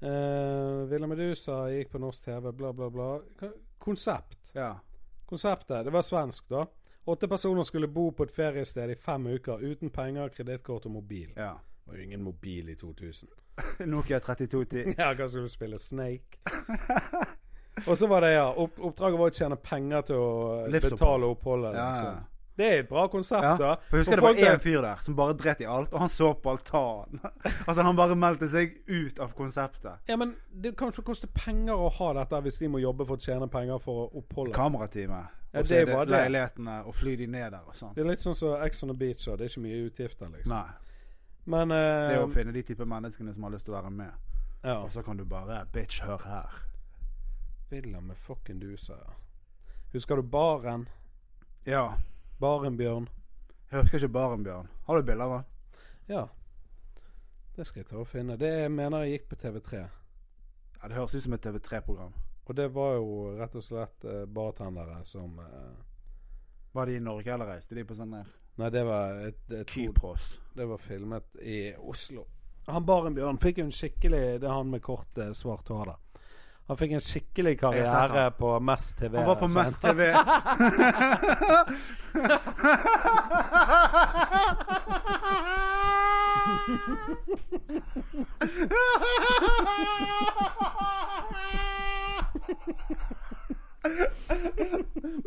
Speaker 1: Eh, Villa Medusa gikk på norsk TV, bla, bla, bla. Ka- Konsept.
Speaker 2: ja.
Speaker 1: Konseptet det var svensk, da. Åtte personer skulle bo på et feriested i fem uker uten penger, kredittkort og mobil.
Speaker 2: ja.
Speaker 1: Det var jo ingen mobil i 2000.
Speaker 2: Nokia 3210.
Speaker 1: Ja, hva skulle du spille? Snake? og så var det, ja. Opp, oppdraget var å tjene penger til å
Speaker 2: Livsopphold.
Speaker 1: betale oppholdet.
Speaker 2: Ja, ja.
Speaker 1: Liksom. Det er et bra konsept,
Speaker 2: Ja,
Speaker 1: da.
Speaker 2: for jeg husker det
Speaker 1: folk
Speaker 2: var
Speaker 1: der-
Speaker 2: én fyr der som bare dret i alt, og han så på altanen. altså, han bare meldte seg ut av konseptet.
Speaker 1: Ja, men det kan jo ikke koste penger å ha dette hvis de må jobbe for å tjene penger for oppholdet.
Speaker 2: Kamerateamet.
Speaker 1: Ja,
Speaker 2: Og så
Speaker 1: det
Speaker 2: er det
Speaker 1: var det.
Speaker 2: leilighetene, og fly de ned der og sånn.
Speaker 1: Det er litt sånn som Ex on the Beach, og det er ikke mye utgifter, liksom.
Speaker 2: Nei.
Speaker 1: Men
Speaker 2: Det
Speaker 1: eh,
Speaker 2: er å finne de type menneskene som har lyst til å være med.
Speaker 1: ja. Altså,
Speaker 2: Og så kan du bare Bitch, hør her.
Speaker 1: Villa med fucking duser, ja. Husker du baren?
Speaker 2: Ja.
Speaker 1: Baren Bjørn?
Speaker 2: Jeg husker ikke baren, Bjørn. Har du bilder av han?
Speaker 1: Ja. Det skal jeg ta og finne. Det mener jeg gikk på TV3.
Speaker 2: Ja, det høres ut som et TV3-program.
Speaker 1: Og det var jo rett og slett eh, bartendere som eh,
Speaker 2: Var de i Norge eller reiste de på sånn der
Speaker 1: Nei, det var et, et
Speaker 2: Kypros?
Speaker 1: Det var filmet i Oslo. Han Baren Bjørn fikk jo en skikkelig Det er han med kort, eh, svart hår, da. Han fikk en skikkelig
Speaker 2: Jeg har sett
Speaker 1: karriere
Speaker 2: han.
Speaker 1: på Mest altså. TV.
Speaker 2: Han var på
Speaker 1: senere.
Speaker 2: Mest TV.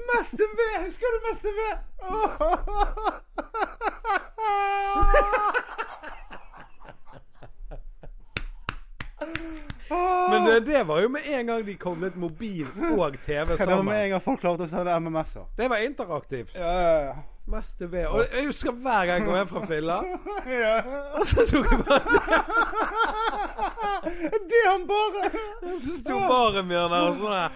Speaker 2: Mest TV! Husker du Mest TV?
Speaker 1: Men det, det var jo med en gang de koblet mobil og TV
Speaker 2: Det var med
Speaker 1: sammen.
Speaker 2: en gang folk klarte å sende MMS-er.
Speaker 1: Det var interaktivt.
Speaker 2: Ja, ja,
Speaker 1: Mest TV. Og jeg husker hver gang jeg kom hjem fra fylla.
Speaker 2: ja.
Speaker 1: Og så tok jeg bare
Speaker 2: Det han bare
Speaker 1: Så sto baren Bjørn der, og sånn her.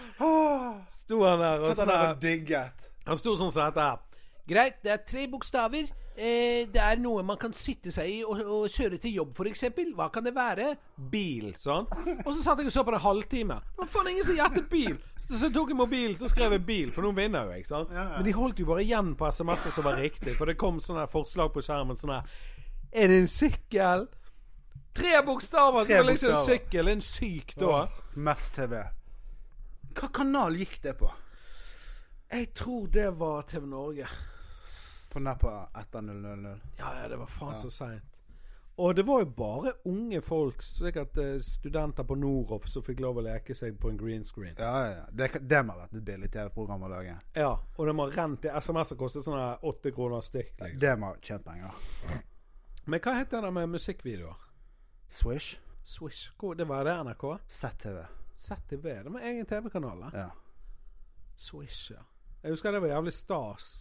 Speaker 1: Sto han der, og
Speaker 2: Satt han
Speaker 1: sånn
Speaker 2: der
Speaker 1: her.
Speaker 2: og digget.
Speaker 1: Han sto sånn som dette her.
Speaker 3: Greit, det er tre bokstaver. Eh, det er noe man kan sitte seg i og, og kjøre til jobb, f.eks. Hva kan det være?
Speaker 1: Bil, sant? Og så satt jeg og så på det en halvtime. Det var faen ingen som gjettet bil! Så, så tok jeg mobilen, så skrev jeg bil, for nå vinner jo jeg, sant?
Speaker 2: Ja, ja.
Speaker 1: Men de holdt jo bare igjen på SMS-er som var riktig, for det kom sånne her forslag på skjermen sånn her Er det en sykkel? Tre bokstaver!
Speaker 2: Tre
Speaker 1: Så var det liksom en
Speaker 2: bokstaver.
Speaker 1: sykkel. En syk da.
Speaker 2: Mest TV. Hva kanal gikk det på?
Speaker 1: Jeg tror det var TV Norge.
Speaker 2: På den der på etter 000.
Speaker 1: Ja, ja, det var faen så seint. Og det var jo bare unge folk, sikkert eh, studenter på Noroff, som fikk lov å leke seg på en green screen.
Speaker 2: Ja, ja, ja. Det, kan- det må ha vært et billig TV-program å lage.
Speaker 1: Ja, og de har rent i SMS-er kostet sånne åtte kroner stykk. Liksom.
Speaker 2: Det må ha tjent penger.
Speaker 1: Men hva heter det der med musikkvideoer?
Speaker 2: Swish.
Speaker 1: Swish? Hvor, det var det NRK?
Speaker 2: ZTV.
Speaker 1: ZTV? Det var egen TV-kanal, da.
Speaker 2: Ja.
Speaker 1: Swish, ja. Jeg husker det var jævlig stas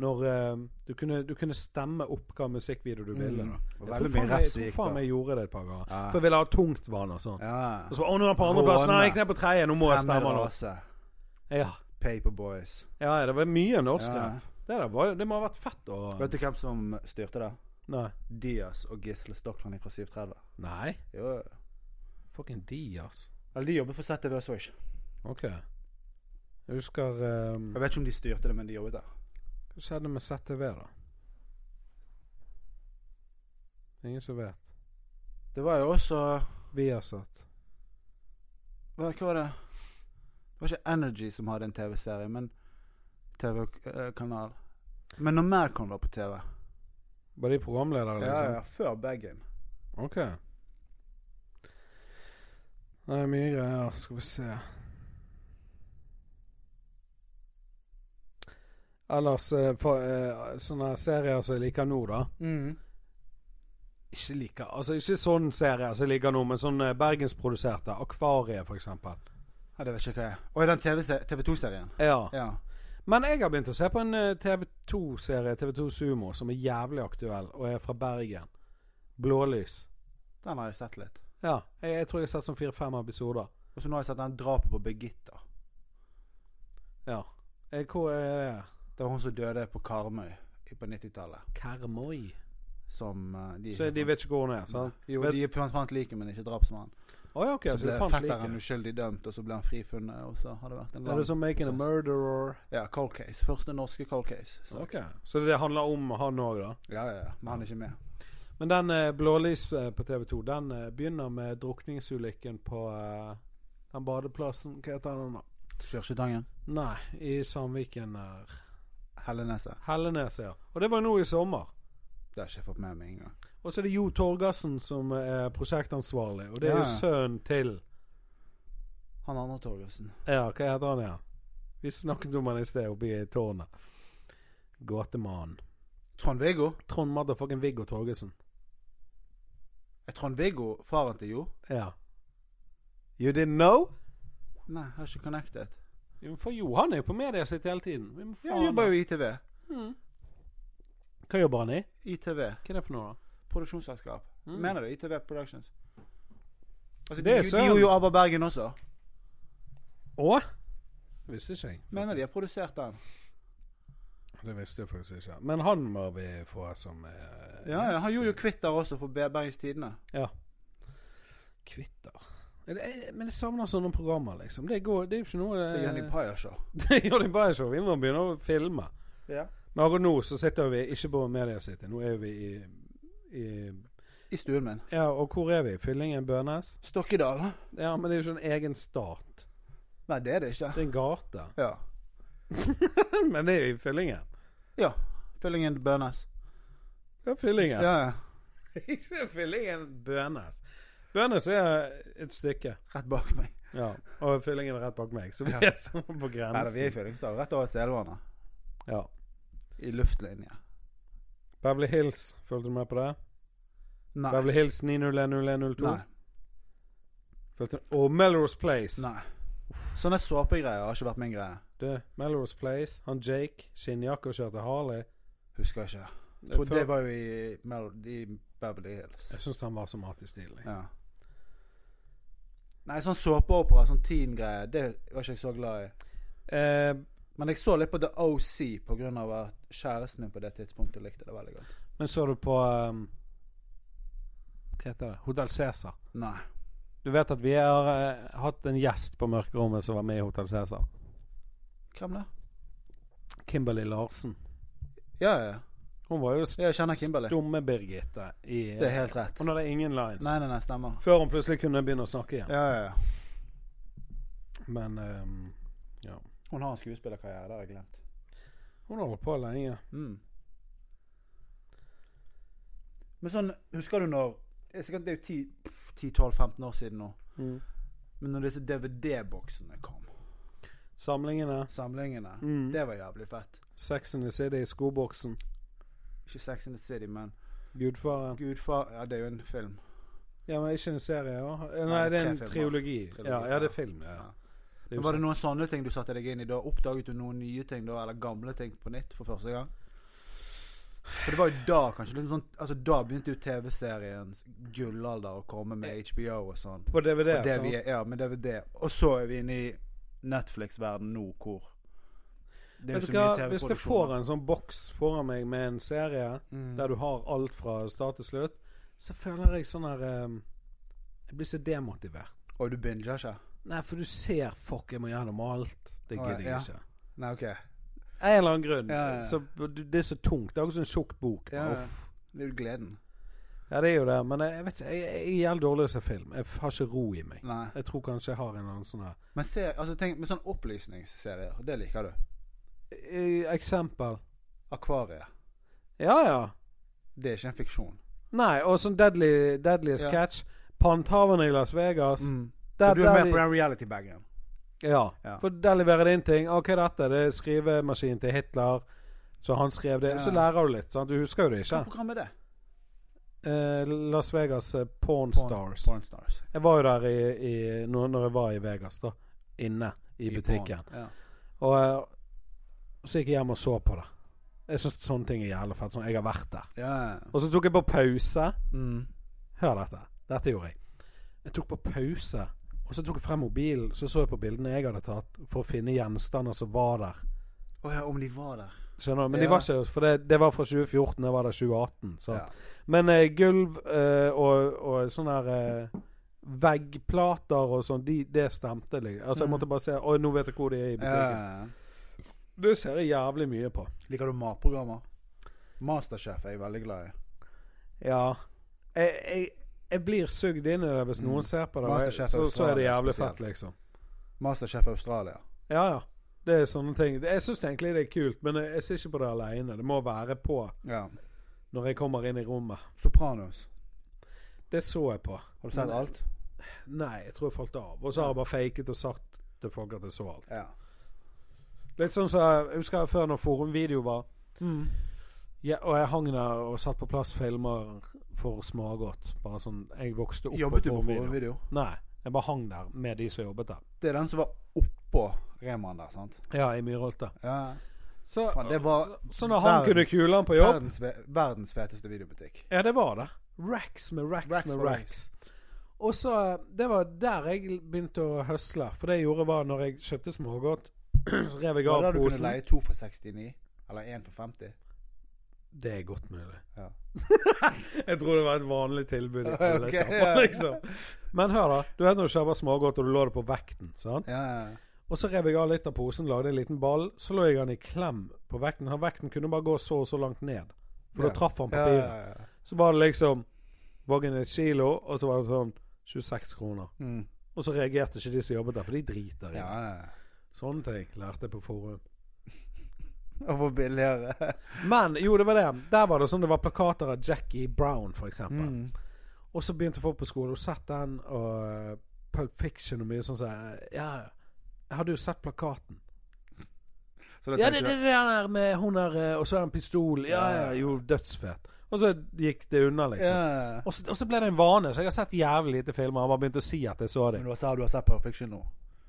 Speaker 1: når eh, du, kunne, du kunne stemme opp hva musikkvideo du ville.
Speaker 2: Mm.
Speaker 1: da.
Speaker 2: Det var
Speaker 1: Jeg
Speaker 2: veldig
Speaker 1: tror
Speaker 2: mye
Speaker 1: faen meg-
Speaker 2: rap
Speaker 1: jeg
Speaker 2: som
Speaker 1: tror
Speaker 2: gikk
Speaker 1: faen
Speaker 2: på.
Speaker 1: meg jeg gjorde det et par ganger.
Speaker 2: Ja.
Speaker 1: For jeg ville ha tungtvann og sånn.
Speaker 2: ja.
Speaker 1: Og så bare, å, nå er han på andreplass,
Speaker 2: Råne.
Speaker 1: nei, jeg gikk ned på tredje, nå må jeg stemme nå.
Speaker 2: Rase.
Speaker 1: Ja.
Speaker 2: Paperboys.
Speaker 1: Ja, det var mye norsk
Speaker 2: Ja.
Speaker 1: rap. Det, der var, jo- det må ha vært fett å
Speaker 2: Vet du hvem som styrte det?
Speaker 1: Nei.
Speaker 2: Diaz og Gisle Stockland fra 730.
Speaker 1: Nei.
Speaker 2: Jo.
Speaker 1: Fucking Diaz.
Speaker 2: Eller de jobber for ZTV og Swish.
Speaker 1: OK. Jeg husker ehm,
Speaker 2: Jeg vet ikke om de styrte det, men de jobbet der.
Speaker 1: Hva skjedde med ZTV, da? Ingen som vet.
Speaker 2: Det var jo også
Speaker 1: Viasat.
Speaker 2: Hva, hva var det Det var ikke Energy som hadde en TV-serie, men TV-kanal. Men når mer kom da på TV?
Speaker 1: Var de programledere, liksom?
Speaker 2: Før Baggin.
Speaker 1: OK. Det er mye greier. Skal vi se. Ellers eh, for, eh, sånne serier som jeg liker nå, da.
Speaker 2: Mm.
Speaker 1: Ikke like, altså ikke sånn serie som jeg liker nå, men sånn eh, bergensproduserte. Akvariet, for eksempel.
Speaker 2: Ja, det vet ikke hva jeg er. Å, er den TV2-serien?
Speaker 1: Ja.
Speaker 2: Ja.
Speaker 1: Men jeg har begynt å se på en eh, TV2-serie, TV2 Sumo, som er jævlig aktuell, og er fra Bergen. Blålys.
Speaker 2: Den har jeg sett litt.
Speaker 1: Ja. Jeg, jeg tror jeg har sett sånn fire-fem episoder.
Speaker 2: Og så nå har jeg sett den drapet på Birgitta.
Speaker 1: Ja. Eh, Hvor er det?
Speaker 2: Det var hun som døde på Karmøy i- på 90-tallet.
Speaker 1: Karmøy.
Speaker 2: Som eh, de
Speaker 1: Så de vet ikke hvor hun er, sant?
Speaker 2: Jo,
Speaker 1: vet-
Speaker 2: de fant- fant liket, men ikke drapsmannen.
Speaker 1: Å ja, OK.
Speaker 2: så
Speaker 1: Så
Speaker 2: ble
Speaker 1: de fant
Speaker 2: fetteren
Speaker 1: liket.
Speaker 2: uskyldig dømt, og så ble han frifunnet, og så har det vært en
Speaker 1: Er det som Making a
Speaker 2: prosess.
Speaker 1: Murderer?
Speaker 2: Ja, cold case. Første norske cold case. Så.
Speaker 1: Ok. Så det handler om han òg, da?
Speaker 2: Ja, ja, ja. Men han er ikke med.
Speaker 1: Men den eh, blålys eh, på TV 2, den eh, begynner med drukningsulykken på eh, den badeplassen Hva heter den da?
Speaker 2: Kjørsketangen.
Speaker 1: Nei, i Sandviken her.
Speaker 2: Helleneset.
Speaker 1: Hellenes, ja. Og det var nå i sommer.
Speaker 2: Det har ikke jeg fått med meg engang.
Speaker 1: Og så er det Jo Torgersen som er prosjektansvarlig, og det er
Speaker 2: Ja.
Speaker 1: jo sønnen til
Speaker 2: Han andre altså. Torgersen.
Speaker 1: Ja, hva heter han igjen? Vi snakket om han i sted, oppe i tårnet. Gåtemannen.
Speaker 2: Trond-Viggo?
Speaker 1: Trond motherfucking Viggo Torgersen.
Speaker 2: Er Trond-Viggo faren til Jo?
Speaker 1: Ja. You didn't know?
Speaker 2: Nei, jeg har ikke connected.
Speaker 1: Jo, For Jo, han er jo på media sitt hele tiden. Vi må
Speaker 2: Ja, jeg jobber jo i ITV.
Speaker 1: Hva jobber han i?
Speaker 2: ITV.
Speaker 1: Hva er det for noe, da?
Speaker 2: Produksjonsselskap.
Speaker 1: Mm.
Speaker 2: Mener du ITV Productions? Altså,
Speaker 1: Det
Speaker 2: de,
Speaker 1: er
Speaker 2: de
Speaker 1: sønnen.
Speaker 2: gjorde jo ABBA Bergen også.
Speaker 1: Å? Det visste ikke jeg.
Speaker 2: Mener de har produsert den.
Speaker 1: Det visste jeg faktisk ikke. Men han må vi få som eh,
Speaker 2: Ja, ja, Han
Speaker 1: gjest.
Speaker 2: gjorde jo Kvitter også for Be- Bergens Tidende.
Speaker 1: Kvitter. Men jeg- Men jeg savner sånne programmer, liksom. Det, går, det er jo ikke noe eh,
Speaker 2: Det er Jenny Paja Show.
Speaker 1: Det gjør de bare ikke. Vi må begynne å filme.
Speaker 2: Ja.
Speaker 1: Men akkurat nå så sitter vi ikke på Media City. Nå er vi i, i
Speaker 2: I stuen min.
Speaker 1: Ja, og hvor er vi? Fyllingen Bønes?
Speaker 2: Stokkedal.
Speaker 1: Ja, men det er jo ikke en egen stat.
Speaker 2: Nei, det er det ikke.
Speaker 1: Det er en gate.
Speaker 2: Ja.
Speaker 1: men det er jo i Fyllingen.
Speaker 2: ja. Fyllingen Bønes.
Speaker 1: Det er Fyllingen.
Speaker 2: Ja, ja.
Speaker 1: ikke Fyllingen Bønes. Bønes er et stykke.
Speaker 2: Rett bak meg.
Speaker 1: Ja, og fyllingen er rett bak meg, så vi
Speaker 2: Ja.
Speaker 1: er sånn på
Speaker 2: Nei, da, vi er i
Speaker 1: grensen.
Speaker 2: Fyllingsdal. Rett over Selvannet.
Speaker 1: Ja.
Speaker 2: I luftlinje.
Speaker 1: Beverly Hills, fulgte du med på det?
Speaker 2: Nei.
Speaker 1: Beverly Hills 900102?
Speaker 2: Nei.
Speaker 1: Fulgte du Og Melrose Place.
Speaker 2: Nei. Sånne såpegreier har ikke vært min greie.
Speaker 1: Du, Melrose Place, han Jake, skinnjakke og kjørte Harley.
Speaker 2: Husker jeg ikke.
Speaker 1: Det
Speaker 2: Jeg tror
Speaker 1: før-
Speaker 2: det var jo i, Mel i Beverly Hills.
Speaker 1: Jeg syns han var så matig stilig.
Speaker 2: Ja. Nei, sånn såpeopera, sånn teen-greie, det var ikke jeg så glad i.
Speaker 1: Eh,
Speaker 2: Men jeg så litt på The OC på grunn av at kjæresten min på det tidspunktet likte det veldig godt.
Speaker 1: men så du på ehm, Hva heter det? Hotell Cæsar.
Speaker 2: Nei.
Speaker 1: Du vet at vi har eh, hatt en gjest på mørkerommet som var med i Hotell Cæsar.
Speaker 2: Hvem da?
Speaker 1: Kimberly Larsen.
Speaker 2: Ja, ja.
Speaker 1: Hun var jo st
Speaker 2: ja. Jeg kjenner Kimberley.
Speaker 1: dumme Birgitte i eh,
Speaker 2: Det er helt rett.
Speaker 1: Hun hadde ingen lines.
Speaker 2: Nei, nei, nei, stemmer.
Speaker 1: Før hun plutselig kunne begynne å snakke igjen.
Speaker 2: Ja, ja, ja.
Speaker 1: Men ehm, ja.
Speaker 2: Hun har en skuespillerkarriere, det har jeg glemt.
Speaker 1: Hun har holdt på lenge.
Speaker 2: Mm. Men sånn, husker du når Det er sikkert det er jo 10-12-15 år siden nå.
Speaker 1: Mm.
Speaker 2: Men når disse DVD-boksene kom,
Speaker 1: Samlingene.
Speaker 2: samlingene,
Speaker 1: Mm.
Speaker 2: det var jævlig fett.
Speaker 1: Sex and the City, skoboksen,
Speaker 2: Ikke Sex in the City, men
Speaker 1: Gudfaren.
Speaker 2: Gudfar Ja, det er jo en film.
Speaker 1: Ja, men ikke en serie, ja. Eh, Nei,
Speaker 2: Nei,
Speaker 1: det er en
Speaker 2: tre filmer.
Speaker 1: triologi.
Speaker 2: Trilogi,
Speaker 1: Ja, ja, det er
Speaker 2: ja.
Speaker 1: film. Ja.
Speaker 2: Ja.
Speaker 1: Det er jo sånn.
Speaker 2: Men var det
Speaker 1: sant.
Speaker 2: noen sånne ting du satte deg inn i da? Oppdaget du noen nye ting da, eller gamle ting på nytt for første gang? For det var jo da kanskje liksom sånn, altså Da begynte jo TV-seriens gullalder å komme med HBO og sånn.
Speaker 1: På DVD,
Speaker 2: Og det
Speaker 1: sant?
Speaker 2: vi er, ja, med DVD. Og så er vi inne i Netflix-verden nå, hvor det
Speaker 1: Vet du hva, hvis jeg får en sånn boks foran meg med en serie
Speaker 2: Mm.
Speaker 1: der du har alt fra start til slutt, så føler jeg sånn her eh, Jeg blir så demotivert.
Speaker 2: Og du binger ikke?
Speaker 1: Nei, for du ser fuck, jeg må gjennom alt. Det
Speaker 2: Å,
Speaker 1: gidder jeg
Speaker 2: ja.
Speaker 1: ikke.
Speaker 2: Nei, OK.
Speaker 1: Av en eller annen grunn.
Speaker 2: Ja, ja.
Speaker 1: Så, du- det er så tungt. Det er akkurat som en tjukk bok.
Speaker 2: Ja,
Speaker 1: Ja,
Speaker 2: ja. Det er jo gleden.
Speaker 1: ja, det er jo det. Men jeg, jeg vet ikke, jeg, jeg er jævlig dårlig til å se film. Jeg har ikke ro i meg.
Speaker 2: Nei.
Speaker 1: Jeg tror kanskje jeg har en eller annen sånn her
Speaker 2: Men se, altså tenk med sånn opplysningsserier. Det liker du.
Speaker 1: Eh, Eksempel.
Speaker 2: Akvariet.
Speaker 1: Ja, ja.
Speaker 2: Det er ikke en fiksjon.
Speaker 1: Nei, og sånn Deadly, deadliest
Speaker 2: Ja. Mm.
Speaker 1: Catch. Panthaverne i Las Vegas. Mm. Der,
Speaker 2: Så du er
Speaker 1: der
Speaker 2: med
Speaker 1: de-
Speaker 2: på den reality-bagen?
Speaker 1: Ja.
Speaker 2: Ja.
Speaker 1: For der leverer det inn ting. Ah, hva er dette? Det er skrivemaskin til Hitler. Så han skrev det.
Speaker 2: Ja.
Speaker 1: Så lærer du litt. sant? Du husker jo det
Speaker 2: Hva
Speaker 1: ikke.
Speaker 2: program er det?
Speaker 1: Eh, Las Vegas eh, Porn
Speaker 2: Porn-
Speaker 1: Stars.
Speaker 2: Pornstars.
Speaker 1: Jeg var jo der i, i, når, når jeg var i Vegas, da. Inne i butikken.
Speaker 2: porn. Ja.
Speaker 1: Og eh, så gikk jeg hjem og så på det. Jeg syns sånne ting er jævlig fett. Sånn, jeg har vært der.
Speaker 2: Ja, ja, ja.
Speaker 1: Og så tok jeg på pause.
Speaker 2: Mm.
Speaker 1: Hør dette. Dette gjorde jeg. Jeg tok på pause, og så tok jeg frem mobilen, så så jeg på bildene jeg hadde tatt, for å finne gjenstander som var der.
Speaker 2: Å ja, om de var der.
Speaker 1: Skjønner du? Men
Speaker 2: Ja.
Speaker 1: de var ikke For det, det var fra 2014, jeg var der 2018. Så.
Speaker 2: Ja.
Speaker 1: Men eh, gulv eh, og, og sånne her eh, veggplater og sånn, de, det stemte. Liksom. Altså, jeg måtte bare se Å, nå vet jeg hvor de er i
Speaker 2: Ja,
Speaker 1: butikken.
Speaker 2: ja, ja.
Speaker 1: Det ser jeg jævlig mye på.
Speaker 2: Liker du matprogrammer? Masterchef er jeg veldig glad i.
Speaker 1: Ja. Jeg, jeg, jeg blir sugd inn i det hvis noen ser på det, og jeg,
Speaker 2: Masterchef
Speaker 1: så, så er det
Speaker 2: Australia
Speaker 1: jævlig
Speaker 2: spesielt.
Speaker 1: fett, liksom.
Speaker 2: Masterchef Australia.
Speaker 1: Ja, ja. Det er sånne ting. Jeg syns egentlig det er kult, men jeg, jeg ser ikke på det aleine. Det må være på
Speaker 2: Ja.
Speaker 1: når jeg kommer inn i rommet.
Speaker 2: Sopranos.
Speaker 1: Det så jeg på.
Speaker 2: Har du sett
Speaker 1: Men-
Speaker 2: alt?
Speaker 1: Nei, jeg tror jeg falt av. Og så har jeg bare faket og sagt til folk at jeg så alt.
Speaker 2: Ja.
Speaker 1: Litt sånn som jeg husker jeg før når forumvideo var. Mm. Ja, og jeg hang der og satt på plass filmer for smågodt. Bare sånn Jeg vokste opp
Speaker 2: Jobbet du på
Speaker 1: forumvideo.
Speaker 2: forumvideo?
Speaker 1: Nei. Jeg bare hang der med de som jobbet der.
Speaker 2: Det er den som var oppå Reman der, sant?
Speaker 1: Ja, i Myrholte.
Speaker 2: Ja.
Speaker 1: Så,
Speaker 2: Faen, det var
Speaker 1: så, så når han kunne kule han på jobb
Speaker 2: Verdens, ve- verdens feteste videobutikk.
Speaker 1: Ja, det var det. Racks med racks,
Speaker 2: Racks
Speaker 1: med
Speaker 2: for
Speaker 1: racks.
Speaker 2: racks.
Speaker 1: Og så eh, Det var der jeg begynte å høsle. For det jeg gjorde, var når jeg kjøpte smågodt, så rev jeg
Speaker 2: Var
Speaker 1: av
Speaker 2: det der du kunne
Speaker 1: posen.
Speaker 2: leie to for 69? Eller én for 50?
Speaker 1: Det er godt mulig.
Speaker 2: Ja.
Speaker 1: jeg tror det var et vanlig tilbud i
Speaker 2: Ok,
Speaker 1: alle
Speaker 2: ja.
Speaker 1: sjapper, liksom. Men hør, da. Du vet når du kjøper smågodt, og du lå det på vekten. sant?
Speaker 2: Ja, ja.
Speaker 1: Og så rev jeg av litt av posen, lagde en liten ball. Så lå jeg han i klem på vekten. Han vekten kunne bare gå så og så langt ned. For
Speaker 2: Ja.
Speaker 1: da traff han
Speaker 2: ja,
Speaker 1: papiret.
Speaker 2: ja, ja.
Speaker 1: Så var det liksom Vågen et kilo, og så var det sånn 26 kroner.
Speaker 2: Mm.
Speaker 1: Og så reagerte ikke de som jobbet der, for de driter i
Speaker 2: ja,
Speaker 1: det.
Speaker 2: ja. ja.
Speaker 1: Sånne ting lærte jeg på forum.
Speaker 2: Og hvor billigere.
Speaker 1: Men jo, det var det. Der var det sånn det var plakater av Jackie Brown, for eksempel. Og så begynte folk på skolen og sett den, og eh, Pulp Fiction og mye sånn som Ja, jeg hadde jo sett plakaten.
Speaker 2: Så da
Speaker 1: Ja, det
Speaker 2: tenkte
Speaker 1: er
Speaker 2: du-
Speaker 1: det der med hun der, eh, og så er det en pistol. Ja, ja, jo, dødsfett. Og så gikk det unna,
Speaker 2: ja.
Speaker 1: liksom. Og så, og så ble det en vane, så jeg har sett jævlig lite filmer. Jeg har bare begynt å si at jeg så
Speaker 2: Men
Speaker 1: dem.
Speaker 2: du har sett, du har sett Perfection nå?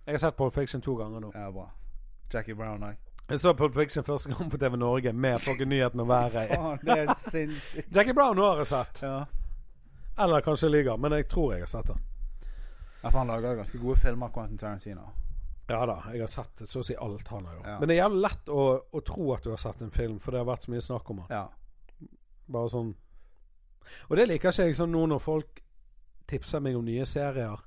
Speaker 1: Jeg har sett Pulp Fiction to ganger nå.
Speaker 2: Ja, bra. Jackie Brown òg.
Speaker 1: Jeg så Pulp Fiction første gang på TV Norge med fucking nyheten og været.
Speaker 2: Faen, det er sinnssykt.
Speaker 1: Jackie Brown nå har jeg sett.
Speaker 2: Ja.
Speaker 1: Eller kanskje jeg lyver, men jeg tror jeg har sett den.
Speaker 2: Ja, for han lager ganske gode filmer, Quentin Tarantino.
Speaker 1: Ja da, jeg har sett så å si alt han har gjort.
Speaker 2: Ja.
Speaker 1: Men det er jævlig lett å, å tro at du har sett en film, for det har vært så mye snakk om han.
Speaker 2: Ja.
Speaker 1: Bare sånn Og det liker ikke jeg sånn nå når folk tipser meg om nye serier.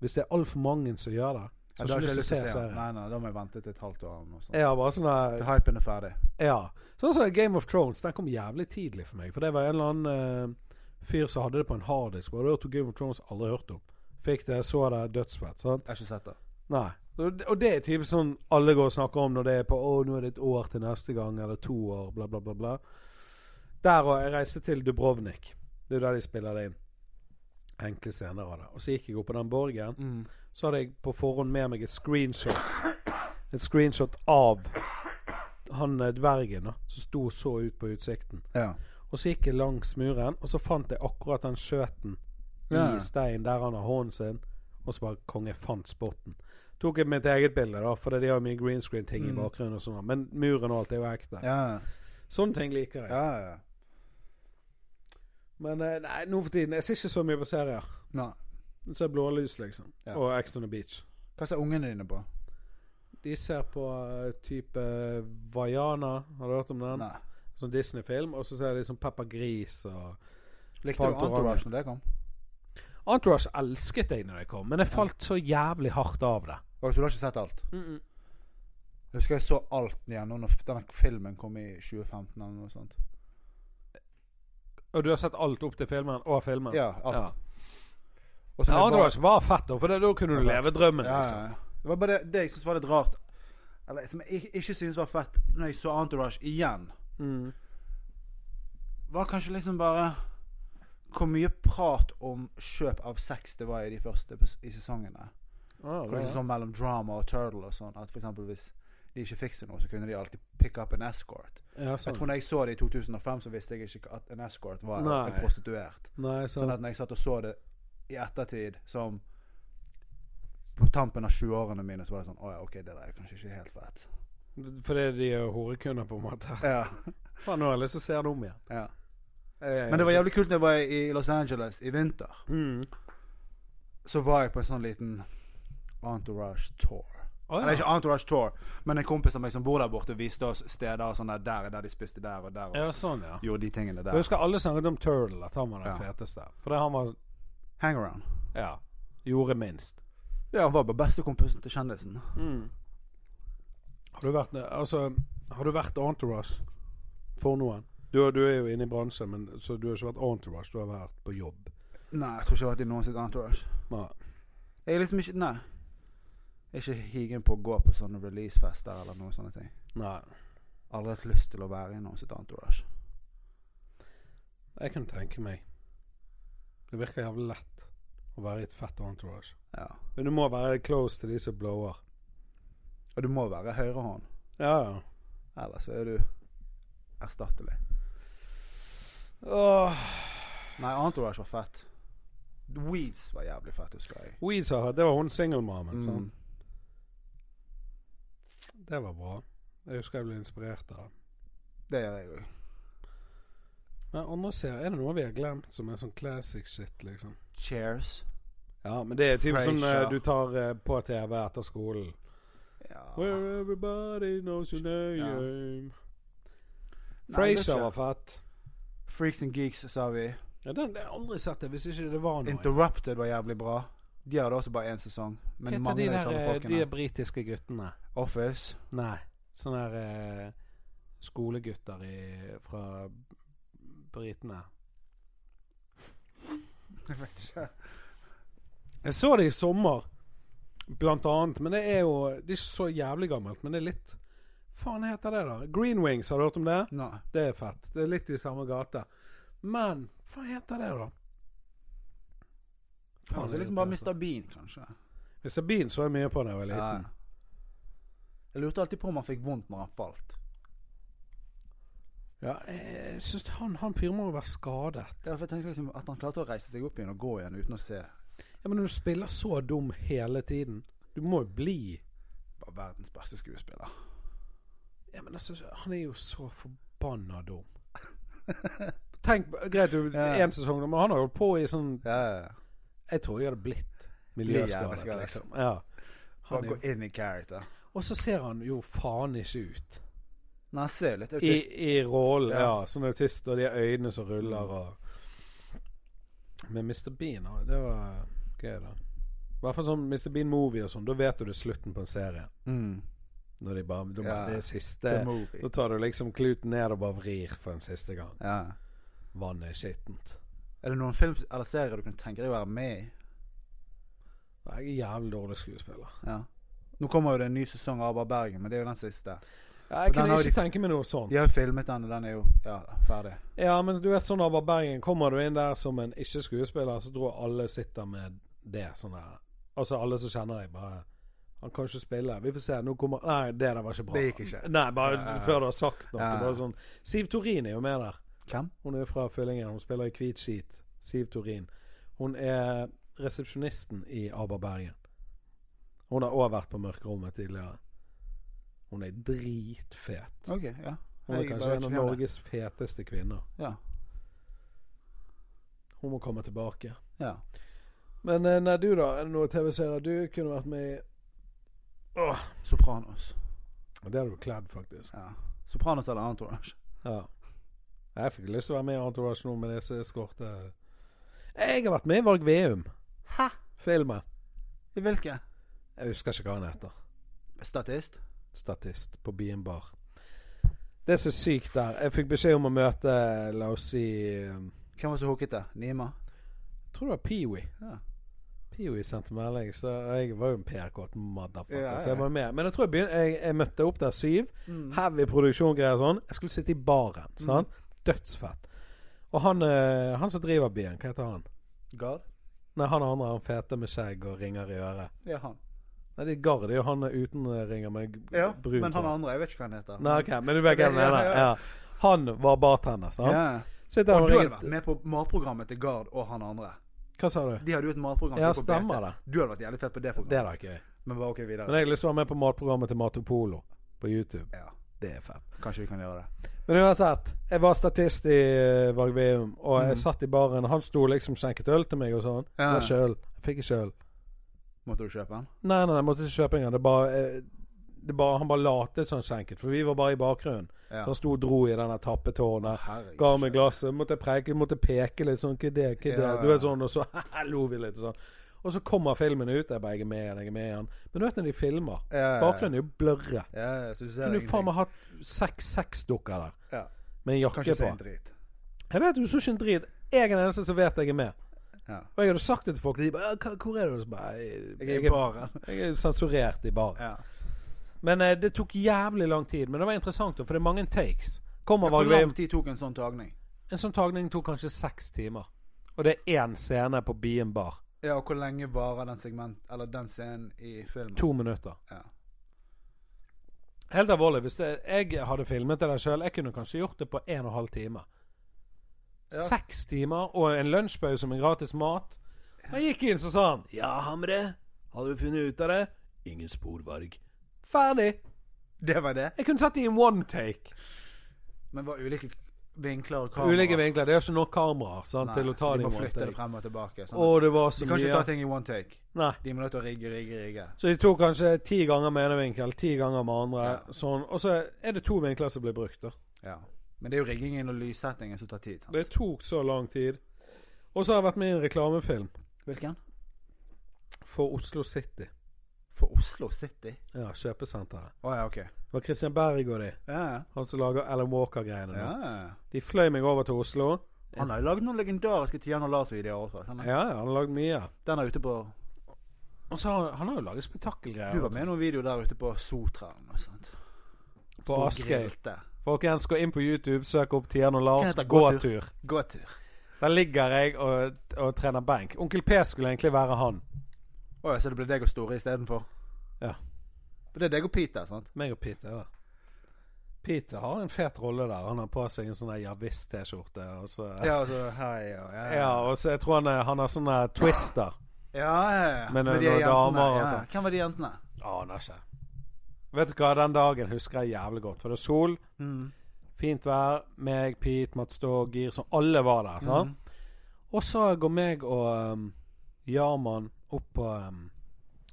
Speaker 1: Hvis det er altfor mange som gjør det, så har
Speaker 2: Ja, da
Speaker 1: jeg
Speaker 2: har
Speaker 1: ikke
Speaker 2: jeg
Speaker 1: lyst til å se
Speaker 2: den.
Speaker 1: serien.
Speaker 2: Nei, nei, da må jeg vente til et halvt år eller noe sånt.
Speaker 1: Jeg har bare sånn
Speaker 2: Til
Speaker 1: der-
Speaker 2: hypen er ferdig.
Speaker 1: Ja. Sånn som Game of Thrones, den kom jævlig tidlig for meg. For det var en eller annen eh, fyr som hadde det på en harddisk. Og hadde hørt om Game of Thrones, aldri hørt om. Fikk det, så det, dødsfett. Sant?
Speaker 2: Jeg har ikke sett det.
Speaker 1: Nei. Og det- og det er typisk sånn alle går og snakker om når det er på Å, nå er det et år til neste gang, eller to år, bla, bla, bla. bla. Der og jeg reiste til Dubrovnik. Det er jo der de spiller det inn. Enkle scener av det. Og så gikk jeg opp på den borgen. Så hadde jeg på forhånd med meg et screenshot. Et screenshot av han eh, dvergen da, som sto og så ut på utsikten.
Speaker 2: Ja.
Speaker 1: Og så gikk jeg langs muren, og så fant jeg akkurat den skjøten
Speaker 2: Ja.
Speaker 1: i stein der han har hånden sin. Og så bare konge fant spotten. Tok jeg mitt eget bilde, da, for de har jo mye green screen-ting i
Speaker 2: Mm.
Speaker 1: bakgrunnen. og sånn. Men muren og alt er jo ekte.
Speaker 2: Ja.
Speaker 1: Sånne ting liker jeg.
Speaker 2: ja, ja.
Speaker 1: Men eh, nei, nå for tiden Jeg ser ikke så mye på serier.
Speaker 2: Nå.
Speaker 1: Jeg ser blålys, liksom.
Speaker 2: Ja.
Speaker 1: Og Ex on the Beach.
Speaker 2: Hva ser ungene dine på?
Speaker 1: De ser på eh, type Vaiana. Har du hørt om den?
Speaker 2: Nei.
Speaker 1: Sånn Disney-film. Og så ser de sånn Peppa Gris og
Speaker 2: Likte du
Speaker 1: Falt og
Speaker 2: Entourage når det kom?
Speaker 1: Entourage elsket jeg når jeg kom, men jeg falt så jævlig hardt av det.
Speaker 2: Og så du har ikke sett alt? Jeg husker jeg så alt igjen når denne filmen kom i 2015 eller noe sånt.
Speaker 1: Og du har sett alt opp til filmen og filmen?
Speaker 2: Ja, alt.
Speaker 1: Ja. Ja,
Speaker 2: Og så var det bare-
Speaker 1: Entourage var fett, da, for da- da kunne du
Speaker 2: Ja,
Speaker 1: leve drømmen.
Speaker 2: Ja,
Speaker 1: Liksom.
Speaker 2: ja, ja. Det var bare det, det jeg syntes var litt rart. Eller som jeg ikke- ikke syntes var fett når jeg så Entourage igjen,
Speaker 1: Mm.
Speaker 2: var kanskje liksom bare hvor mye prat om kjøp av sex det var i de første pes- i sesongene.
Speaker 1: Ah,
Speaker 2: Hvor liksom sånn mellom drama og turtle og sånn. At for eksempel hvis de ikke fikk seg noe, så kunne de alltid pick up an escort.
Speaker 1: ja,
Speaker 2: Jeg tror
Speaker 1: sånn.
Speaker 2: når jeg så det i 2005, så visste jeg ikke at en escort var
Speaker 1: Nei.
Speaker 2: en prostituert.
Speaker 1: Nei,
Speaker 2: Sånn
Speaker 1: sånn.
Speaker 2: at når jeg satt og så det i ettertid, som på tampen av 20-årene mine, så var det sånn Å ja, ok, det der er kanskje ikke helt fett.
Speaker 1: Fordi de er horekunder, på en måte.
Speaker 2: Ja,
Speaker 1: Faen, nå har jeg lyst til å se den om igjen.
Speaker 2: ja.
Speaker 1: Jeg- jeg-
Speaker 2: Men det var jævlig kult når jeg var i Los Angeles i vinter.
Speaker 1: mm.
Speaker 2: Så var jeg på en sånn liten entourage tour.
Speaker 1: Å,
Speaker 2: Eller
Speaker 1: ja.
Speaker 2: ikke entourage tour, men en kompis av meg som bor der borte, viste oss steder og sånn der, der, er der de spiste der og der, og
Speaker 1: ja, sånn, ja.
Speaker 2: gjorde de tingene
Speaker 1: Jeg
Speaker 2: der.
Speaker 1: husker alle snakket om Turtle, at han var den
Speaker 2: Ja.
Speaker 1: feteste. Fordi han var
Speaker 2: Hangaround.
Speaker 1: Ja. Gjorde minst.
Speaker 2: Ja, han var bare bestekompisen til kjendisen.
Speaker 1: Har du vært Altså, har du vært entourage for noen? Du, du er jo inne i bransjen, men, så du har ikke vært entourage. Du har vært på jobb.
Speaker 2: Nei, jeg tror ikke jeg har vært i noen sitt entourage.
Speaker 1: Nei.
Speaker 2: Jeg er liksom ikke Nei. Jeg er ikke higen på å gå på sånne releasefester eller noen sånne ting.
Speaker 1: Nei.
Speaker 2: Aldri hatt lyst til å være i noen sitt entourage.
Speaker 1: Jeg kan tenke meg. Det virker jævlig lett å være i et fett entourage.
Speaker 2: Ja.
Speaker 1: Men du må være close til de som blower.
Speaker 2: Og du må være høyrehånd,
Speaker 1: Ja, ja.
Speaker 2: ellers så er du erstattelig.
Speaker 1: Åh.
Speaker 2: Nei, entourage var fett. Weeds var jævlig fett, husker jeg.
Speaker 1: Weeds har hatt Det var hun singelmamen.
Speaker 2: Mm.
Speaker 1: sant? Det var bra. Jeg husker jeg ble inspirert av det.
Speaker 2: Det gjør jeg òg.
Speaker 1: Men andre serier, er det noe vi har glemt som er sånn classic shit, liksom?
Speaker 2: Cheers.
Speaker 1: Ja, men det er typ sånn eh,
Speaker 2: Frasier.
Speaker 1: du tar eh, på TV etter skolen.
Speaker 2: Ja.
Speaker 1: Where everybody knows your
Speaker 2: Ja.
Speaker 1: name.
Speaker 2: Nei,
Speaker 1: Frasier
Speaker 2: det er
Speaker 1: var
Speaker 2: ikke-
Speaker 1: fett.
Speaker 2: Freaks and Geeks, sa vi.
Speaker 1: Ja, den har jeg aldri sett, det, hvis ikke det var noe.
Speaker 2: Interrupted var jævlig bra. De hadde også bare én sesong.
Speaker 1: Hva
Speaker 2: Men
Speaker 1: heter
Speaker 2: mange
Speaker 1: de
Speaker 2: av de
Speaker 1: der
Speaker 2: samme
Speaker 1: eh, de
Speaker 2: folkene.
Speaker 1: britiske guttene?
Speaker 2: Office.
Speaker 1: Nei. Sånne der eh, skolegutter i, fra britene.
Speaker 2: Jeg vet ikke.
Speaker 1: Jeg så det i sommer, blant annet. Men det er jo Det er ikke så jævlig gammelt, men det er litt Faen heter det, da? Green Wings, har du hørt om det?
Speaker 2: Nei.
Speaker 1: Det er fett. Det er litt i samme gate. Men hva heter det, da?
Speaker 2: Kanskje liksom bare Mr. Bean, kanskje.
Speaker 1: Mr. Bean så jeg mye på da jeg var
Speaker 2: Ja.
Speaker 1: liten.
Speaker 2: Jeg lurte alltid på om han fikk vondt når han falt.
Speaker 1: Ja, jeg syns han, han fyren må jo være skadet.
Speaker 2: Ja, for jeg tenkte liksom At han klarte å reise seg opp igjen og gå igjen uten å se.
Speaker 1: Ja, Men når du spiller så dum hele tiden Du må jo bli
Speaker 2: Bare verdens beste skuespiller.
Speaker 1: Ja, men altså, Han er jo så forbanna dum. Tenk, Greit, du,
Speaker 2: Ja.
Speaker 1: én sesong, men han har holdt på i sånn
Speaker 2: Ja, ja, ja.
Speaker 1: Jeg tror jeg hadde blitt
Speaker 2: Blir
Speaker 1: miljøskadet,
Speaker 2: hjerneskadet.
Speaker 1: liksom. Ja. Han
Speaker 2: Bare
Speaker 1: er,
Speaker 2: gå inn i character.
Speaker 1: jo- og så ser han jo faen ikke ut.
Speaker 2: Nei, han ser jo litt
Speaker 1: I,
Speaker 2: autist
Speaker 1: i rollen, ja.
Speaker 2: Ja.
Speaker 1: Som autist, og de øynene som ruller og Men Mr. Bean, ja, det var gøy, da. I hvert fall sånn Mr. Bean Movie og sånn. Da vet du det er slutten på en serie.
Speaker 2: Mm.
Speaker 1: Når de bare, da,
Speaker 2: Ja.
Speaker 1: Det er
Speaker 2: The
Speaker 1: siste Da
Speaker 2: movie.
Speaker 1: tar du liksom kluten ned og bare vrir for en siste gang.
Speaker 2: Ja.
Speaker 1: Vannet er skittent.
Speaker 2: Er det noen film eller serier du kunne tenke deg å være med i?
Speaker 1: Jeg er jævlig dårlig skuespiller.
Speaker 2: Ja. Nå kommer jo det en ny sesong av Abba Bergen, men det er jo den siste.
Speaker 1: Ja, jeg
Speaker 2: den
Speaker 1: kunne
Speaker 2: har
Speaker 1: ikke
Speaker 2: de-
Speaker 1: tenke meg noe sånt.
Speaker 2: De har jo filmet den, og den er jo ja, ferdig.
Speaker 1: Ja, men du vet sånn Abba Bergen, kommer du inn der som en ikke-skuespiller, så tror jeg alle sitter med det sånn der. Altså alle som kjenner deg, bare Han kan ikke spille. Vi får se. Nå kommer Nei, det der var ikke bra.
Speaker 2: Det gikk ikke.
Speaker 1: Nei, bare
Speaker 2: Ja, ja, ja.
Speaker 1: før du har sagt noe.
Speaker 2: Ja, ja.
Speaker 1: Bare sånn Siv Torin er jo med der.
Speaker 2: Hvem?
Speaker 1: Hun er fra Fyllingen. Hun spiller i Hvit skit. Siv Torin. Hun er resepsjonisten i Abba Bergen. Hun har òg vært på Mørkerommet tidligere. Hun er dritfet.
Speaker 2: Ok, ja.
Speaker 1: Hun er
Speaker 2: Jeg
Speaker 1: kanskje
Speaker 2: bare
Speaker 1: en av
Speaker 2: vet ikke hvem det
Speaker 1: Norges feteste kvinner.
Speaker 2: er. Ja.
Speaker 1: Hun må komme tilbake.
Speaker 2: ja.
Speaker 1: Men eh, nei, du da? Er det noen TV-serier du kunne vært med i? Åh,
Speaker 2: Sopranos.
Speaker 1: det hadde du kledd, faktisk.
Speaker 2: Ja. Sopranos eller Entourage.
Speaker 1: Ja. Jeg fikk lyst til å være med i Entourage nå med disse eskorte... Jeg har vært med i Varg Veum.
Speaker 2: Hæ?
Speaker 1: Filmen.
Speaker 2: I hvilke?
Speaker 1: Jeg husker ikke hva han heter.
Speaker 2: Statist?
Speaker 1: Statist på Bien Bar. Det som er sykt der Jeg fikk beskjed om å møte, la oss si eh, Jeg
Speaker 2: Hvem var så hookete? Nima?
Speaker 1: tror det var Peewee.
Speaker 2: Ja.
Speaker 1: Pio sendte melding, så jeg var jo en PR-kåt motherfucker.
Speaker 2: Ja, ja,
Speaker 1: Så jeg
Speaker 2: ja. Mm.
Speaker 1: var med. Men jeg tror jeg, begyn- jeg, jeg møtte opp der syv. Heavy produksjon greier og sånn. Jeg skulle sitte i baren. Sant? Dødsfett. Og han, eh, han som driver byen, hva heter han?
Speaker 2: Gard?
Speaker 1: Nei, han andre han fete med skjegg og ringer i øret.
Speaker 2: Ja, han.
Speaker 1: Nei, det er Gard. Det er jo han uten eh, ringer med g-
Speaker 2: Ja,
Speaker 1: brunt
Speaker 2: men han
Speaker 1: hår.
Speaker 2: andre, jeg vet ikke hva han heter.
Speaker 1: Nei, ok, men du vet hva jeg
Speaker 2: Ja, ja,
Speaker 1: mener.
Speaker 2: ja.
Speaker 1: Ja, Han var bartender, sant?
Speaker 2: Ja.
Speaker 1: Sitter han og
Speaker 2: Og du hadde vært
Speaker 1: ringer
Speaker 2: med på matprogrammet til Gard og han andre.
Speaker 1: Hva sa du?
Speaker 2: De hadde jo et matprogram som
Speaker 1: Ja,
Speaker 2: gikk på BT.
Speaker 1: stemmer det.
Speaker 2: Du hadde vært jævlig fett på det
Speaker 1: Det
Speaker 2: programmet.
Speaker 1: er da ikke jeg.
Speaker 2: Men bare ok, videre.
Speaker 1: Men jeg har lyst til å være med på matprogrammet til Matopolo på YouTube.
Speaker 2: Ja,
Speaker 1: Det er fett.
Speaker 2: kanskje vi kan gjøre det.
Speaker 1: Men uansett, jeg var statist i eh, Varg Veum, og jeg satt i baren. Han sto liksom og skjenket øl til meg og sånn.
Speaker 2: Mm. Ja.
Speaker 1: Det var ikke øl. Jeg fikk ikke øl.
Speaker 2: Måtte du kjøpe den?
Speaker 1: Nei, nei, jeg måtte ikke kjøpe engang. Det bare, eh, det bare, han bare latet som han skjenket, for vi var bare i bakgrunnen.
Speaker 2: Ja.
Speaker 1: Så han sto og dro i den der tappetårnet.
Speaker 2: Herregud.
Speaker 1: Ga meg glasset. Måtte jeg preke, måtte peke litt sånn. Hva er det, hva er det?
Speaker 2: Ja, ja.
Speaker 1: Du vet sånn, og så lo vi litt og sånn. Og så kommer filmen ut. Jeg bare jeg er med igjen, jeg er med igjen. Men du vet når de filmer?
Speaker 2: Ja, ja, ja.
Speaker 1: Bakgrunnen er jo blørre.
Speaker 2: Ja, ja, så du ser
Speaker 1: Kunne du
Speaker 2: ingenting.
Speaker 1: faen meg hatt seks-seks dukker der
Speaker 2: Ja.
Speaker 1: med en
Speaker 2: Kanskje
Speaker 1: jakke
Speaker 2: se
Speaker 1: på.
Speaker 2: en drit.
Speaker 1: Jeg vet du så ikke en drit. Jeg er den eneste som vet jeg er med.
Speaker 2: Ja.
Speaker 1: Og jeg hadde sagt det til folk. De bare «Ja, hva- 'Hvor er du?' Og så bare jeg,
Speaker 2: Jeg er i
Speaker 1: er-
Speaker 2: baren.
Speaker 1: Jeg er sensurert i baren.
Speaker 2: Ja.
Speaker 1: Men eh, det tok jævlig lang tid. Men det var interessant, da, for det er mange takes. Kommer
Speaker 2: Hvor
Speaker 1: Varg
Speaker 2: lang
Speaker 1: Veum
Speaker 2: tid tok en sånn tagning?
Speaker 1: En sånn tagning tok kanskje seks timer. Og det er én scene på Bien bar.
Speaker 2: Ja, og hvor lenge varer den segment, eller den scenen i filmen?
Speaker 1: To minutter.
Speaker 2: Ja.
Speaker 1: Helt alvorlig, hvis det, jeg hadde filmet det der sjøl, jeg kunne kanskje gjort det på en og en halv time.
Speaker 2: Ja.
Speaker 1: Seks timer og en lunsjpause med gratis mat. Han gikk inn, så sa han Ja, Hamre, hadde du funnet ut av det? Ingen spor, Varg. Ferdig!
Speaker 2: Det var det?
Speaker 1: Jeg kunne tatt det i en one take.
Speaker 2: Men var ulike vinkler og kamera?
Speaker 1: Ulike vinkler. Det er ikke nok kameraer sant,
Speaker 2: Nei,
Speaker 1: til å ta
Speaker 2: så
Speaker 1: det
Speaker 2: de
Speaker 1: i
Speaker 2: må
Speaker 1: one
Speaker 2: flytte det
Speaker 1: take.
Speaker 2: frem og tilbake. Sånn.
Speaker 1: Å, det var
Speaker 2: de
Speaker 1: så
Speaker 2: kan ikke ta
Speaker 1: mye.
Speaker 2: ting i one take.
Speaker 1: Nei.
Speaker 2: De må nødt til å rigge, rigge, rigge.
Speaker 1: Så de tok kanskje ti ganger med ene vinkel, ti ganger med andre.
Speaker 2: Ja.
Speaker 1: Sånn. Og så er det to vinkler som blir brukt, da.
Speaker 2: Ja. Men det er jo riggingen og lyssettingen som tar tid. Sant?
Speaker 1: Det tok så lang tid. Og så har jeg vært med i en reklamefilm
Speaker 2: Hvilken?
Speaker 1: for Oslo City.
Speaker 2: For Oslo City?
Speaker 1: Ja, kjøpesenteret.
Speaker 2: Å ja, ok.
Speaker 1: Det var Christian Berg og de.
Speaker 2: Ja, ja.
Speaker 1: Han som lager Alan Walker-greiene.
Speaker 2: ja.
Speaker 1: nå.
Speaker 2: ja.
Speaker 1: De fløy meg over til Oslo.
Speaker 2: Han har jo lagd noen legendariske Tian og Lars-videoer også. skjønner du?
Speaker 1: Ja, ja, han har lagd mye.
Speaker 2: Den er ute på
Speaker 1: Og så har han, han har jo laget spetakkelgreier.
Speaker 2: Du var med i noen videoer der ute på Sotra eller noe sånt.
Speaker 1: På
Speaker 2: Hvor
Speaker 1: Askøy.
Speaker 2: grilte.
Speaker 1: Folkens, gå inn på YouTube, søk opp Tian og Lars
Speaker 2: Hva heter
Speaker 1: gåtur.
Speaker 2: Gåtur.
Speaker 1: Der ligger jeg og, og trener benk. Onkel P skulle egentlig være han.
Speaker 2: Å ja, så det ble deg og Store istedenfor?
Speaker 1: Ja.
Speaker 2: For det er deg og Peter, sant?
Speaker 1: Meg og Pete er der. Pete har en fet rolle der. Han har på seg en sånn der ja visst-T-skjorte. Og så
Speaker 2: Ja, altså Hei, og ja.
Speaker 1: Ja, og så jeg tror han, er- han har sånne twister.
Speaker 2: ja, ja, ja.
Speaker 1: Men,
Speaker 2: Med
Speaker 1: når
Speaker 2: de jentene,
Speaker 1: damer og
Speaker 2: ja.
Speaker 1: sånn.
Speaker 2: Hvem var de jentene?
Speaker 1: Aner ikke. Vet du hva, den dagen husker jeg jævlig godt. For det var sol,
Speaker 2: Mm.
Speaker 1: fint vær, meg, Pete, Mats Stog, Gir, så alle var der. sant?
Speaker 2: Mhm.
Speaker 1: Og så går meg og um, Jarman opp på um,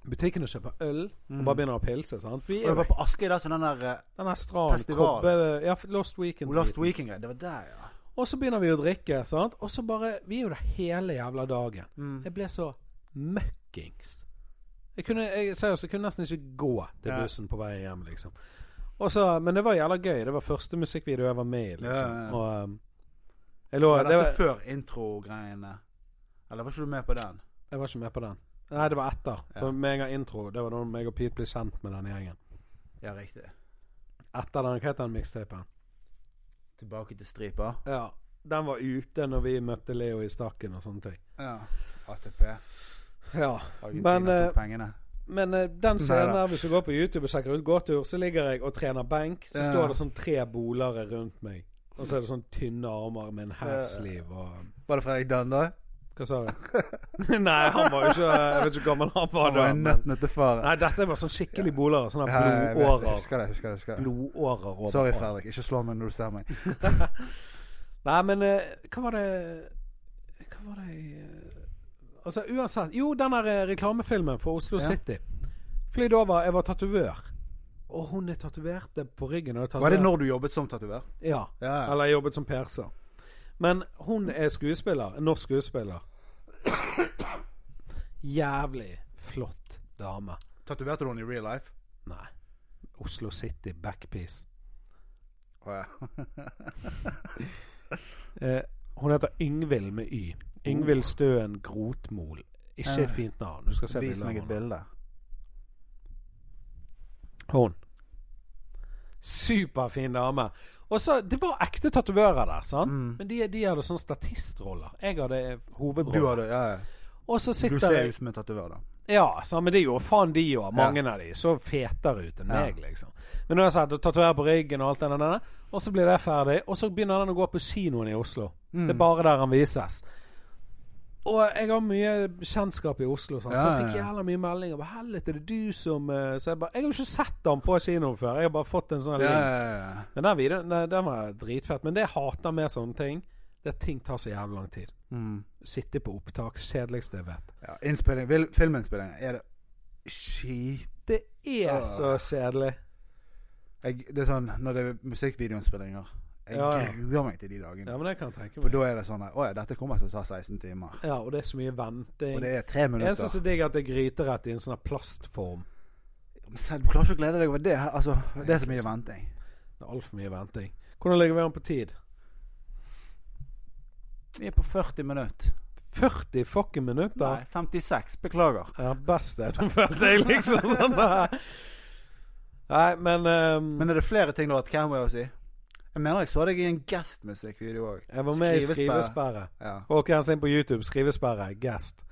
Speaker 1: butikken og kjøper øl. Og bare begynner å pilse. sant? For vi
Speaker 2: Og
Speaker 1: er
Speaker 2: jeg
Speaker 1: jo
Speaker 2: var Mhm. på Askøy da, så den der eh,
Speaker 1: den her stranden
Speaker 2: festival.
Speaker 1: kobbe, Ja, Lost Weekend.
Speaker 2: Last Weekend-greia, det var der, ja.
Speaker 1: Og så begynner vi å drikke, sant? og så bare Vi er jo der hele jævla dagen.
Speaker 2: Mm.
Speaker 1: Jeg ble så møkkings. Jeg kunne jeg, seriøst, jeg kunne nesten ikke gå til
Speaker 2: Ja.
Speaker 1: bussen på vei hjem, liksom. Og så, men det var jævla gøy. Det var første musikkvideo jeg var med i, liksom.
Speaker 2: Ja, ja, ja.
Speaker 1: Og um, jeg lå
Speaker 2: Var
Speaker 1: det
Speaker 2: dette
Speaker 1: var,
Speaker 2: før intro-greiene? Eller var ikke du med på den?
Speaker 1: Jeg var ikke med på den. Nei, det var etter.
Speaker 2: Ja.
Speaker 1: For meg og intro. Det var da meg og Pete ble kjent med den gjengen.
Speaker 2: Ja, riktig.
Speaker 1: Etter den, hva het den mixtapen?
Speaker 2: Tilbake til stripa.
Speaker 1: Ja. Den var ute når vi møtte Leo i stakken og sånne ting.
Speaker 2: Ja. ATP.
Speaker 1: Ja.
Speaker 2: Argentina
Speaker 1: Men, eh,
Speaker 2: tok pengene.
Speaker 1: Men eh, den scenen
Speaker 2: Neida.
Speaker 1: her, hvis du går på YouTube og sjekker ut gåtur, så ligger jeg og trener benk. Så
Speaker 2: Ja.
Speaker 1: står det sånn tre bolere rundt meg. Og så er det sånn tynne armer med en halfsleeve og
Speaker 2: Var det Fredrik Dan, da?
Speaker 1: Hva sa du? Nei, han var jo ikke Jeg vet ikke hvor gammel han var
Speaker 2: Han
Speaker 1: da.
Speaker 2: var en
Speaker 1: Men,
Speaker 2: nøttene til far.
Speaker 1: nei, dette var sånn skikkelig bolere. Sånne
Speaker 2: Ja, jeg vet det. Jeg
Speaker 1: blodårer.
Speaker 2: Husker det, husker det. husker det.
Speaker 1: Blodårer over.
Speaker 2: Sorry, Fredrik. Ikke slå meg når du ser meg.
Speaker 1: Nei, men eh, hva var det Hva var det jeg, eh, Altså uansett Jo, den der eh, reklamefilmen for Oslo
Speaker 2: Ja.
Speaker 1: City. Flydd over. Jeg var tatovør. Og hun er tatovert det på ryggen. Og er
Speaker 2: Var det
Speaker 1: tatovert-
Speaker 2: når du jobbet som tatover?
Speaker 1: Ja.
Speaker 2: Ja.
Speaker 1: Eller jobbet som perser. Men hun er skuespiller. En norsk skuespiller. Jævlig flott dame.
Speaker 2: Tatoverte du henne i real life?
Speaker 1: Nei. Oslo City backpiece.
Speaker 2: Å ja.
Speaker 1: Eh, hun heter Yngvild med Y. Yngvild
Speaker 2: Oh.
Speaker 1: Støen Grotmol. Ikke et fint navn. Du skal se
Speaker 2: Eh, Vis
Speaker 1: bildet av
Speaker 2: meg et
Speaker 1: henne.
Speaker 2: bilde.
Speaker 1: Hun. Superfin dame. Og så, Det var ekte tatovører der,
Speaker 2: Mm.
Speaker 1: sant? men de, de hadde sånn statistroller. Jeg hadde
Speaker 2: Du
Speaker 1: hovedrollen.
Speaker 2: har det, ja, ja.
Speaker 1: Og så
Speaker 2: Du
Speaker 1: sitter
Speaker 2: ser
Speaker 1: jeg-
Speaker 2: ut som en tatover, da.
Speaker 1: Ja, sant, men det gjorde faen de òg. Mange av de så fetere ut enn
Speaker 2: Ja.
Speaker 1: meg, liksom. Men nå har jeg sett tatoverer på ryggen og alt det der, og så blir det ferdig. Og så begynner den å gå på kinoen i Oslo. Det
Speaker 2: Mm.
Speaker 1: er bare der han vises. Og jeg har mye kjennskap i Oslo, sant? så
Speaker 2: Ja,
Speaker 1: jeg fikk
Speaker 2: ja, ja.
Speaker 1: jævla mye meldinger. Bare, Helvete, det er du som eh, Så jeg bare Jeg har jo ikke sett han på kinoen før. Jeg har bare fått en sånn
Speaker 2: Ja,
Speaker 1: link.
Speaker 2: ja, ja, ja.
Speaker 1: Men den videoen den, den var dritfett. Men det jeg hater med sånne ting, det er at ting tar så jævlig lang tid.
Speaker 2: Mm.
Speaker 1: Sitte på opptak. Kjedeligste jeg vet.
Speaker 2: ja. Innspilling, vil- filminnspilling er det skip...
Speaker 1: Det er
Speaker 2: Åh.
Speaker 1: så kjedelig.
Speaker 2: Jeg, det er sånn når det er musikkvideoinnspillinger. Jeg
Speaker 1: Ja, ja.
Speaker 2: gruer meg til de dagene.
Speaker 1: Ja, men det kan jeg tenke
Speaker 2: For
Speaker 1: meg.
Speaker 2: da er det sånn her, Å ja, dette kommer til å ta 16 timer.
Speaker 1: Ja, og det er så mye venting.
Speaker 2: Og det er tre
Speaker 1: jeg syns
Speaker 2: minutter.
Speaker 1: det er digg at det er gryterett i en sånn her plastform.
Speaker 2: Men selv, du klarer ikke å glede deg over det. her, Altså, det er så mye venting.
Speaker 1: Det er altfor mye venting. Hvordan ligger vi an på tid?
Speaker 2: Vi er på 40 minutter.
Speaker 1: 40 fucking minutter?
Speaker 2: Nei, 56. Beklager.
Speaker 1: Ja, best er det, følte jeg liksom. sånn der. Nei, men, ehm,
Speaker 2: Men er det flere ting du har hatt camera å si? Jeg mener jeg så deg i en guest-musikkvideo òg.
Speaker 1: Jeg var med i
Speaker 2: Skrivesperre.
Speaker 1: Skrivesperre.
Speaker 2: Ja.
Speaker 1: Folkens, inn på YouTube. Skrivesperre. Guest.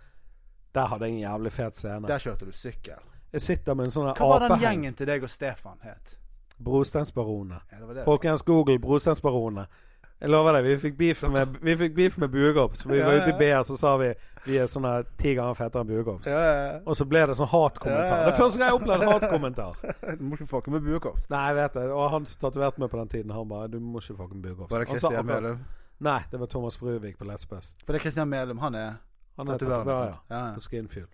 Speaker 1: Der hadde jeg en jævlig fet scene.
Speaker 2: Der kjørte du sykkel.
Speaker 1: Jeg sitter med en sånn her
Speaker 2: Hva var den
Speaker 1: apeheng.
Speaker 2: gjengen til deg og Stefan het?
Speaker 1: Brosteinsbaronene.
Speaker 2: Ja, det var det.
Speaker 1: Folkens, Google Brosteinsbaronene. Jeg lover deg, vi fikk beef med, vi fikk beef med Buegops. For vi
Speaker 2: Ja,
Speaker 1: var
Speaker 2: ja.
Speaker 1: ute i BR, så sa vi vi er sånne ti ganger fetere enn Buegops.
Speaker 2: Ja, ja, ja.
Speaker 1: Og så ble det sånn hatkommentar.
Speaker 2: Ja, ja.
Speaker 1: Det er første gang jeg opplevde hatkommentar.
Speaker 2: Du må ikke fucke med buekorps.
Speaker 1: Nei, jeg vet det. Og han som tatoverte meg på den tiden, han bare Du må ikke fucking Buegops.
Speaker 2: Var det
Speaker 1: Han sa
Speaker 2: Christian
Speaker 1: akkurat-
Speaker 2: Mælum?
Speaker 1: Nei, det var Thomas Bruvik på Let's Best.
Speaker 2: For det er Christian Mælum, han er
Speaker 1: Han er
Speaker 2: Tatoverer,
Speaker 1: tatoverer,
Speaker 2: ja, Altså,
Speaker 1: ja.
Speaker 2: ja.
Speaker 1: På Skinfuel.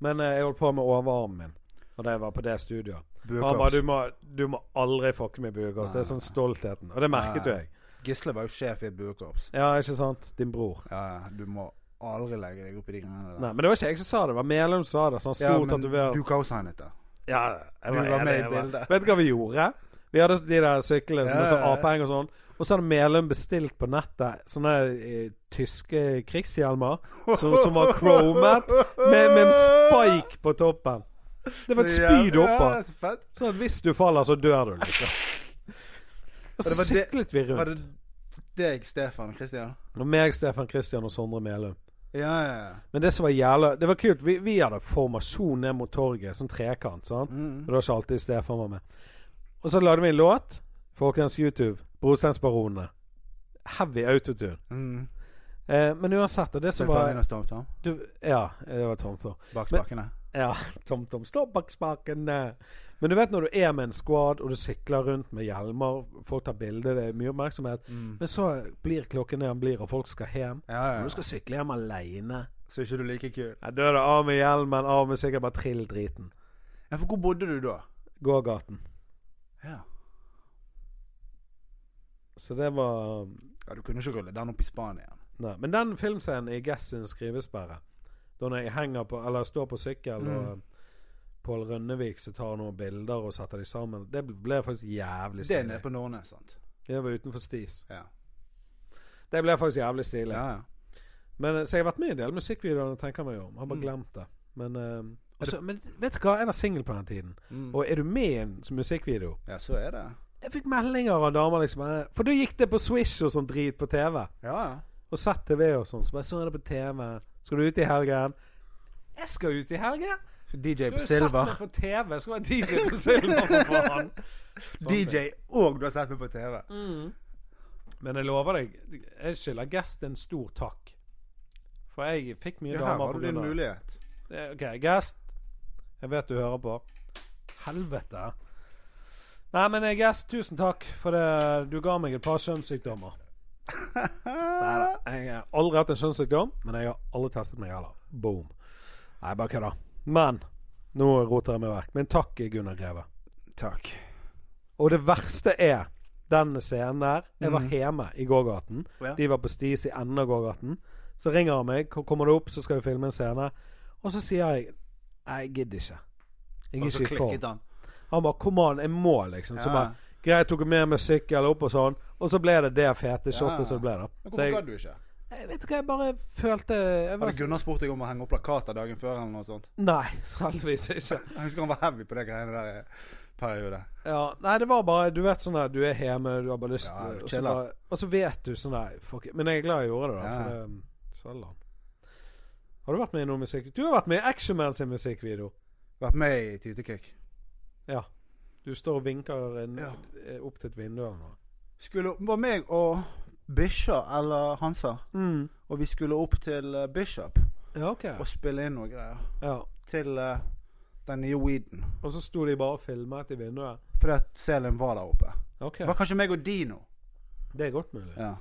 Speaker 1: Men eh, jeg holdt på med overarmen min Og da jeg var på det studioet. Og Han
Speaker 2: buekorps.
Speaker 1: bare du må, du må aldri fucke med Buegops. Det er sånn stoltheten. Og det merket jo
Speaker 2: Nei.
Speaker 1: jeg.
Speaker 2: Gisle var jo sjef i buekorps.
Speaker 1: Ja, ikke sant? Din bror.
Speaker 2: Ja, ja, du må aldri legge deg opp i de greiene der.
Speaker 1: Nei, men det var ikke jeg som sa det. Det var Melum som sa det. Sånn stor
Speaker 2: ja, men
Speaker 1: tatovering.
Speaker 2: du kan også ha en etter.
Speaker 1: Ja, jeg
Speaker 2: du
Speaker 1: var,
Speaker 2: var
Speaker 1: jeg-
Speaker 2: med i
Speaker 1: jeg var-
Speaker 2: bildet.
Speaker 1: Vet du hva vi gjorde? Vi hadde de der syklene som
Speaker 2: Ja,
Speaker 1: er sånn
Speaker 2: ja, ja.
Speaker 1: apeheng og sånn. Og så hadde Melum bestilt på nettet sånne eh, tyske krigshjelmer som, som var chromet, med, med en spike på toppen. Det var et spyd
Speaker 2: Ja,
Speaker 1: oppå.
Speaker 2: så fett.
Speaker 1: Sånn at hvis du faller, så dør du, liksom. Og
Speaker 2: Og det
Speaker 1: så
Speaker 2: var det-
Speaker 1: syklet vi
Speaker 2: Var
Speaker 1: rundt.
Speaker 2: det deg, Stefan og Christian?
Speaker 1: Og meg, Stefan Christian og Sondre Melum.
Speaker 2: Ja, ja, ja.
Speaker 1: Men det som var jævla Det var kult. Vi, vi hadde formasjon ned mot torget, sånn trekant. sant?
Speaker 2: Mm,
Speaker 1: Og det var ikke alltid Stefan var med. Og så lagde vi en låt. Folkens YouTube. Brosteinsbaronene. Heavy autotune.
Speaker 2: Mm.
Speaker 1: Eh, men uansett, og det som
Speaker 2: Skal vi ta
Speaker 1: var
Speaker 2: inn hos Tom Tom?
Speaker 1: du, Ja, det var tomter.
Speaker 2: Bak spakene?
Speaker 1: Ja, TomTom står bak spakene. Men du vet når du er med en squad, og du sykler rundt med hjelmer, folk tar bilder, det er mye oppmerksomhet, men så blir klokken det den blir, og folk skal hjem.
Speaker 2: Mm. Ja, ja.
Speaker 1: Og du skal sykle hjem aleine.
Speaker 2: Så ikke du like kul.
Speaker 1: Jeg døde av med hjelmen, av med sikkert bare trill driten.
Speaker 2: Ja, for hvor bodde du da?
Speaker 1: Gågaten.
Speaker 2: Ja.
Speaker 1: Så det var
Speaker 2: ja du kunne ikke rulle den opp i Spania.
Speaker 1: Nei. Men den filmscenen i Guess sin skrivesperre, da når jeg henger på, eller står på sykkel
Speaker 2: Mm.
Speaker 1: og Pål Rønnevik som tar noen bilder og setter de sammen, det ble faktisk jævlig
Speaker 2: Det er nede
Speaker 1: stilig.
Speaker 2: på Nordnes, sant?
Speaker 1: Det var utenfor Stis.
Speaker 2: Ja.
Speaker 1: Det ble faktisk jævlig stilig.
Speaker 2: ja, ja.
Speaker 1: Men, eh, så jeg har vært med i en del musikkvideoer, tenker jeg meg om.
Speaker 2: Mm.
Speaker 1: Har bare glemt det. Men, eh, også, men vet du hva, jeg var singel på den tiden.
Speaker 2: Mm.
Speaker 1: Og er du med i en musikkvideo,
Speaker 2: ja så er det.
Speaker 1: Jeg fikk meldinger av damer liksom eh, For da gikk det på Swish og sånn drit på TV.
Speaker 2: Ja, ja.
Speaker 1: Og ZTV og sånn. Så bare så jeg det på TV. Skal du ut i helgen? Jeg skal ut i helgen!
Speaker 2: DJ
Speaker 1: Du har
Speaker 2: på
Speaker 1: jo sett meg
Speaker 2: Silver.
Speaker 1: på TV! Jeg skal være DJ på Silver, for faen! Sånn ting.
Speaker 2: DJ og du har sett meg på TV.
Speaker 1: Men jeg lover deg, jeg skylder Guest en stor takk. For jeg fikk mye
Speaker 2: Ja, her
Speaker 1: damer
Speaker 2: var
Speaker 1: på
Speaker 2: det din
Speaker 1: grunn av
Speaker 2: mulighet.
Speaker 1: det. OK, Guest. Jeg vet du hører på. Helvete. Nei, men eh, Guest, tusen takk for det. Du ga meg et par kjønnssykdommer. Neida, Jeg har aldri hatt en kjønnssykdom, men jeg har aldri testet meg heller. Boom. Nei, bare kødda. Men nå roter jeg meg vekk. Men takk, Gunnar Greve.
Speaker 2: Takk.
Speaker 1: Og det verste er den scenen der. Jeg var hjemme i gågaten.
Speaker 2: Mm. Ja.
Speaker 1: De var på stis i enden av gågaten. Så ringer han meg. "Ko- Kommer du opp, så skal vi filme en scene. Og så sier jeg Nei, jeg gidder ikke. Jeg
Speaker 2: Og
Speaker 1: er
Speaker 2: så
Speaker 1: ikke i form.
Speaker 2: klikket han.
Speaker 1: Han bare Kom an, jeg må, liksom. Så
Speaker 2: Ja.
Speaker 1: bare Greit, jeg tok med meg sykkel opp og sånn. Og så ble det det fete
Speaker 2: Ja.
Speaker 1: shotet som det ble, da.
Speaker 2: Men
Speaker 1: Så
Speaker 2: Hvorfor
Speaker 1: jeg,
Speaker 2: gadd du ikke?
Speaker 1: jeg vet ikke, jeg bare følte jeg var, sånn,
Speaker 2: Hadde Gunnar spurt deg om å henge opp plakater dagen før eller noe sånt?
Speaker 1: Nei, heldigvis ikke.
Speaker 2: Jeg husker han var heavy på det greiene der i periode.
Speaker 1: Ja, nei, det var bare Du vet sånn der Du er hjemme, du har bare lyst
Speaker 2: Ja,
Speaker 1: til og, så
Speaker 2: chilla.
Speaker 1: bare, og så vet du sånn der fuck it. Men jeg er glad jeg gjorde det, da.
Speaker 2: Ja.
Speaker 1: For det Sølvland. Har du vært med i noe musikk? Du har vært med i Action Man sin musikkvideo.
Speaker 2: Vært med i Tytekick.
Speaker 1: Ja. Du står og vinker en,
Speaker 2: Ja.
Speaker 1: eh, opp til et vindu eller noe.
Speaker 2: Skulle var meg og Bisha eller Hansa, og vi skulle opp til eh, Bishop
Speaker 1: Ja, OK.
Speaker 2: og spille inn noe greier.
Speaker 1: Ja.
Speaker 2: Til eh, den nye weeden.
Speaker 1: Og så sto de bare og filmet i vinduet.
Speaker 2: Fordi at Selen var der oppe.
Speaker 1: OK.
Speaker 2: Det var kanskje meg og Dino.
Speaker 1: Det er godt mulig.
Speaker 2: Ja.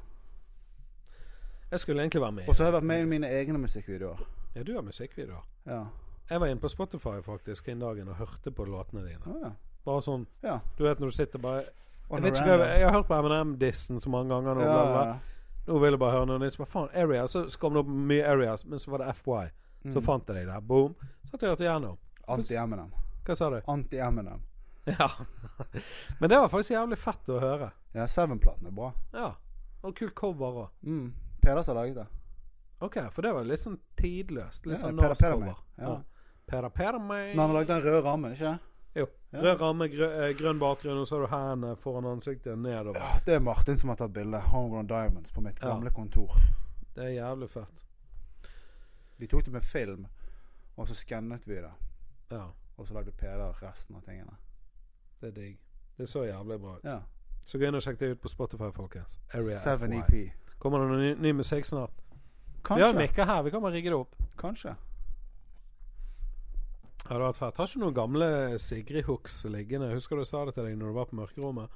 Speaker 1: Jeg skulle egentlig være med.
Speaker 2: Og så har jeg vært med i mine egne musikkvideoer.
Speaker 1: Ja, du har musikkvideoer.
Speaker 2: Ja.
Speaker 1: Jeg var inne på Spotify faktisk en dag og hørte på låtene dine.
Speaker 2: Ah, ja.
Speaker 1: Bare sånn
Speaker 2: ja.
Speaker 1: Du vet når du sitter bare
Speaker 2: On
Speaker 1: Jeg, vet
Speaker 2: a
Speaker 1: ikke, hva jeg,
Speaker 2: random.
Speaker 1: jeg har hørt på M&M-dissen så mange ganger nå.
Speaker 2: Ja,
Speaker 1: Bla,
Speaker 2: ja,
Speaker 1: bla.
Speaker 2: ja.
Speaker 1: Nå vil jeg bare høre noe nytt. Så bare, faen, Area. Så kom det opp mye Areas, men så var det FY. Så
Speaker 2: Mm.
Speaker 1: fant jeg deg der. Boom. Så hørte jeg hørt igjennom.
Speaker 2: Anti-Eminem.
Speaker 1: Hva sa du?
Speaker 2: Anti-Eminem.
Speaker 1: Ja. men det var faktisk jævlig fett å høre.
Speaker 2: Ja, Seven-platen er bra.
Speaker 1: Ja. Og kult cover òg.
Speaker 2: Mm. Peders har laget det.
Speaker 1: OK, for det var litt sånn tidløst. Litt
Speaker 2: Ja,
Speaker 1: sånn
Speaker 2: Pera Pera
Speaker 1: Nas-cover.
Speaker 2: meg. Ja.
Speaker 1: Pera Pera meg.
Speaker 2: Men han har laget den røde rammen, ikke sant?
Speaker 1: Jo.
Speaker 2: Ja.
Speaker 1: Rød ramme, grø eh, grønn bakgrunn, og så har du hendene foran ansiktet nedover.
Speaker 2: Ja, det er Martin som har tatt bilde. Homegrown Diamonds på mitt
Speaker 1: Ja.
Speaker 2: gamle kontor.
Speaker 1: Det er jævlig fett.
Speaker 2: Vi tok det med film, og så skannet vi det.
Speaker 1: Ja.
Speaker 2: Og så lagde Peder resten av tingene.
Speaker 1: Det er digg. Det så jævlig bra ut.
Speaker 2: Ja.
Speaker 1: Så gå inn og sjekk det ut på Spotify, folkens. Area
Speaker 2: Seven
Speaker 1: FY.
Speaker 2: EP.
Speaker 1: Kommer det noe ny, ny musikk snart? Vi har
Speaker 2: Kanskje.
Speaker 1: mikker her, vi kan bare rigge det opp.
Speaker 2: Kanskje.
Speaker 1: Ja, det har vært fett. Har ikke noen gamle Sigrid Hooks liggende? Husker du jeg sa det til deg når du var på mørkerommet?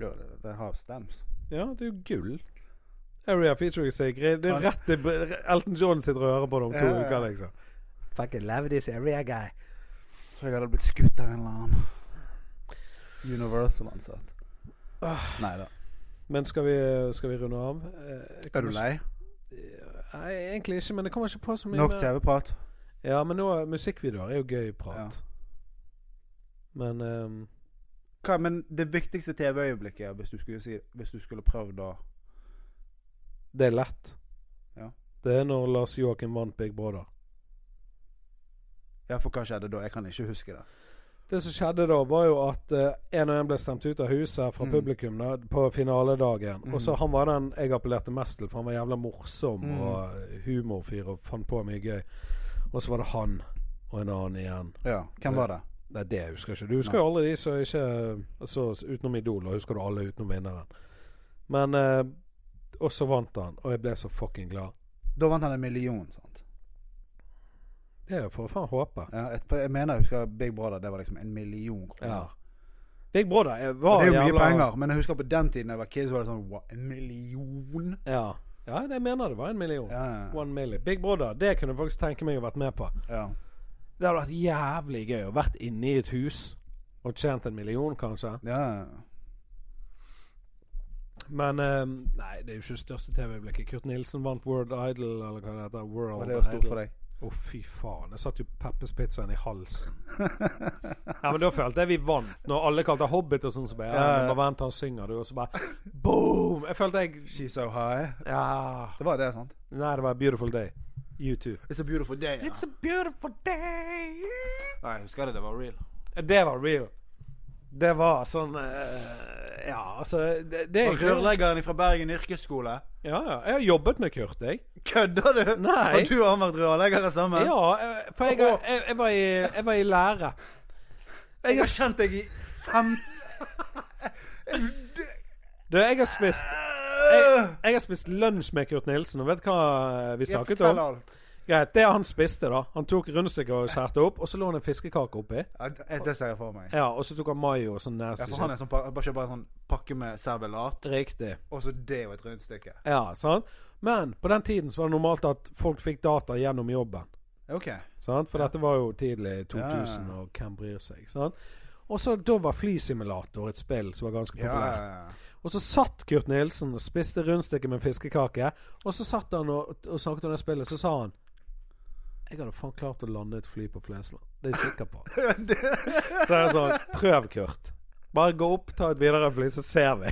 Speaker 2: Ja, det, det har stems.
Speaker 1: Ja, det er jo gull. Area featuring Sigrid. Det er
Speaker 2: Ja.
Speaker 1: rett til Br- Elton John sitter og hører på det om to
Speaker 2: Ja, ja.
Speaker 1: uker, liksom. Fucking love this area guy.
Speaker 2: Så jeg hadde blitt skutt av en eller annen Universal-ansatt. Nei da.
Speaker 1: Ah, Men skal vi, skal vi runde av? Eh, jeg
Speaker 2: Er du
Speaker 1: kommer
Speaker 2: lei?
Speaker 1: ikke- Nei, egentlig ikke, men det kommer ikke på så mye
Speaker 2: Nok
Speaker 1: mer.
Speaker 2: TV-prat?
Speaker 1: Ja, men nå, musikkvideoer er jo gøy prat. Men ehm,
Speaker 2: Hva, men det viktigste TV-øyeblikket, hvis du skulle si Hvis du skulle prøvd å
Speaker 1: Det er lett.
Speaker 2: Ja.
Speaker 1: Det er når Lars Joakim vant Big Brother.
Speaker 2: Ja, for hva skjedde da? Jeg kan ikke huske det.
Speaker 1: Det som skjedde da, var jo at eh, en og en ble stemt ut av huset fra
Speaker 2: Mm.
Speaker 1: publikum da, på finaledagen.
Speaker 2: Mm.
Speaker 1: Og så han var den jeg appellerte mest til, for han var jævla morsom
Speaker 2: Mm.
Speaker 1: og eh, humorfyr og fant på mye gøy. Og så var det han og en annen igjen.
Speaker 2: Ja, Hvem var det?
Speaker 1: Nei, det husker jeg ikke. Du husker jo alle de som ikke altså, Utenom Idol, og husker du alle utenom vinneren. Men eh, Og så vant han, og jeg ble så fucking glad.
Speaker 2: Da vant han en million, sant?
Speaker 1: Det får jeg faen håpe.
Speaker 2: Ja, et, for jeg mener jeg husker Big Brother, det var liksom en million
Speaker 1: Ja.
Speaker 2: kroner.
Speaker 1: Big Brother jeg
Speaker 2: Og
Speaker 1: var
Speaker 2: det er jo
Speaker 1: jævla
Speaker 2: mye penger, men jeg husker på den tiden jeg var kid, så var det sånn wow, En million?
Speaker 1: Ja. ja, det jeg mener det var en million.
Speaker 2: Ja, ja, ja.
Speaker 1: One million. Big Brother, det kunne jeg faktisk tenke meg å vært med på.
Speaker 2: ja.
Speaker 1: Det hadde vært jævlig gøy å vært inne i et hus og tjent en million, kanskje.
Speaker 2: ja. ja.
Speaker 1: Men eh, nei, det er jo ikke det største TV-øyeblikket. Kurt Nilsen vant World Idol, eller hva det heter.
Speaker 2: Var
Speaker 1: World
Speaker 2: det stort for
Speaker 1: Idol.
Speaker 2: deg?
Speaker 1: Å, fy faen. Jeg satt jo Peppes Pizzaen i halsen. ja, men da følte jeg vi vant. Når alle kalte Hobbit og sånn, så bare ja,
Speaker 2: Ja, ja.
Speaker 1: men Bare vent, han synger, du. Og så bare boom! Jeg følte jeg
Speaker 2: She's so high.
Speaker 1: Ja.
Speaker 2: Det var det, sant?
Speaker 1: Nei, det var A Beautiful Day. U2.
Speaker 2: It's a beautiful day. Ja.
Speaker 1: a beautiful day
Speaker 2: Nei, jeg husker det. Det var real.
Speaker 1: Det var real.
Speaker 3: Det var sånn eh, Ja, altså Det, det er
Speaker 2: Og
Speaker 3: egentlig
Speaker 2: rørleggeren fra Bergen yrkesskole.
Speaker 1: Ja, ja. Jeg har jobbet med Kurt, jeg.
Speaker 2: Kødder du?
Speaker 3: Nei.
Speaker 2: Og du og han vært rørleggere sammen?
Speaker 3: Ja, eh, for jeg, har- jeg, jeg, var, i, jeg var i lære.
Speaker 2: Jeg har kjent deg i fem
Speaker 1: Du, jeg har spist jeg, jeg har spist lunsj med Kurt Nilsen, og vet du hva vi snakket om?
Speaker 2: alt.
Speaker 1: Greit, det han spiste, da. Han tok rundstykket og skjærte opp, og så lå han en fiskekake oppi.
Speaker 2: Ja, det- det ser jeg for meg.
Speaker 1: Ja, og så tok han mayo og sånn
Speaker 2: Ja,
Speaker 1: nasty
Speaker 2: for han er
Speaker 1: shit.
Speaker 2: sånn, pa- bare kjøper en sånn pakke med servelat,
Speaker 1: Riktig.
Speaker 2: og så det og et rundstykke.
Speaker 1: Ja, sant? Men på den tiden så var det normalt at folk fikk data gjennom jobben.
Speaker 2: OK.
Speaker 1: Sant? For dette var jo tidlig
Speaker 2: Ja, ja, ja.
Speaker 1: 2000, og hvem bryr seg? Sant? Og så da var flysimulator et spill som var ganske
Speaker 2: Ja,
Speaker 1: populært.
Speaker 2: ja, ja.
Speaker 1: Og så satt Kurt Nilsen og spiste rundstykke med fiskekake. Og så satt han og, og snakket om det spillet, så sa han Jeg hadde faen klart å lande et fly på Flesland. Det er jeg sikker på. så er jeg sånn Prøv, Kurt. Bare gå opp, ta et videre fly, så ser vi.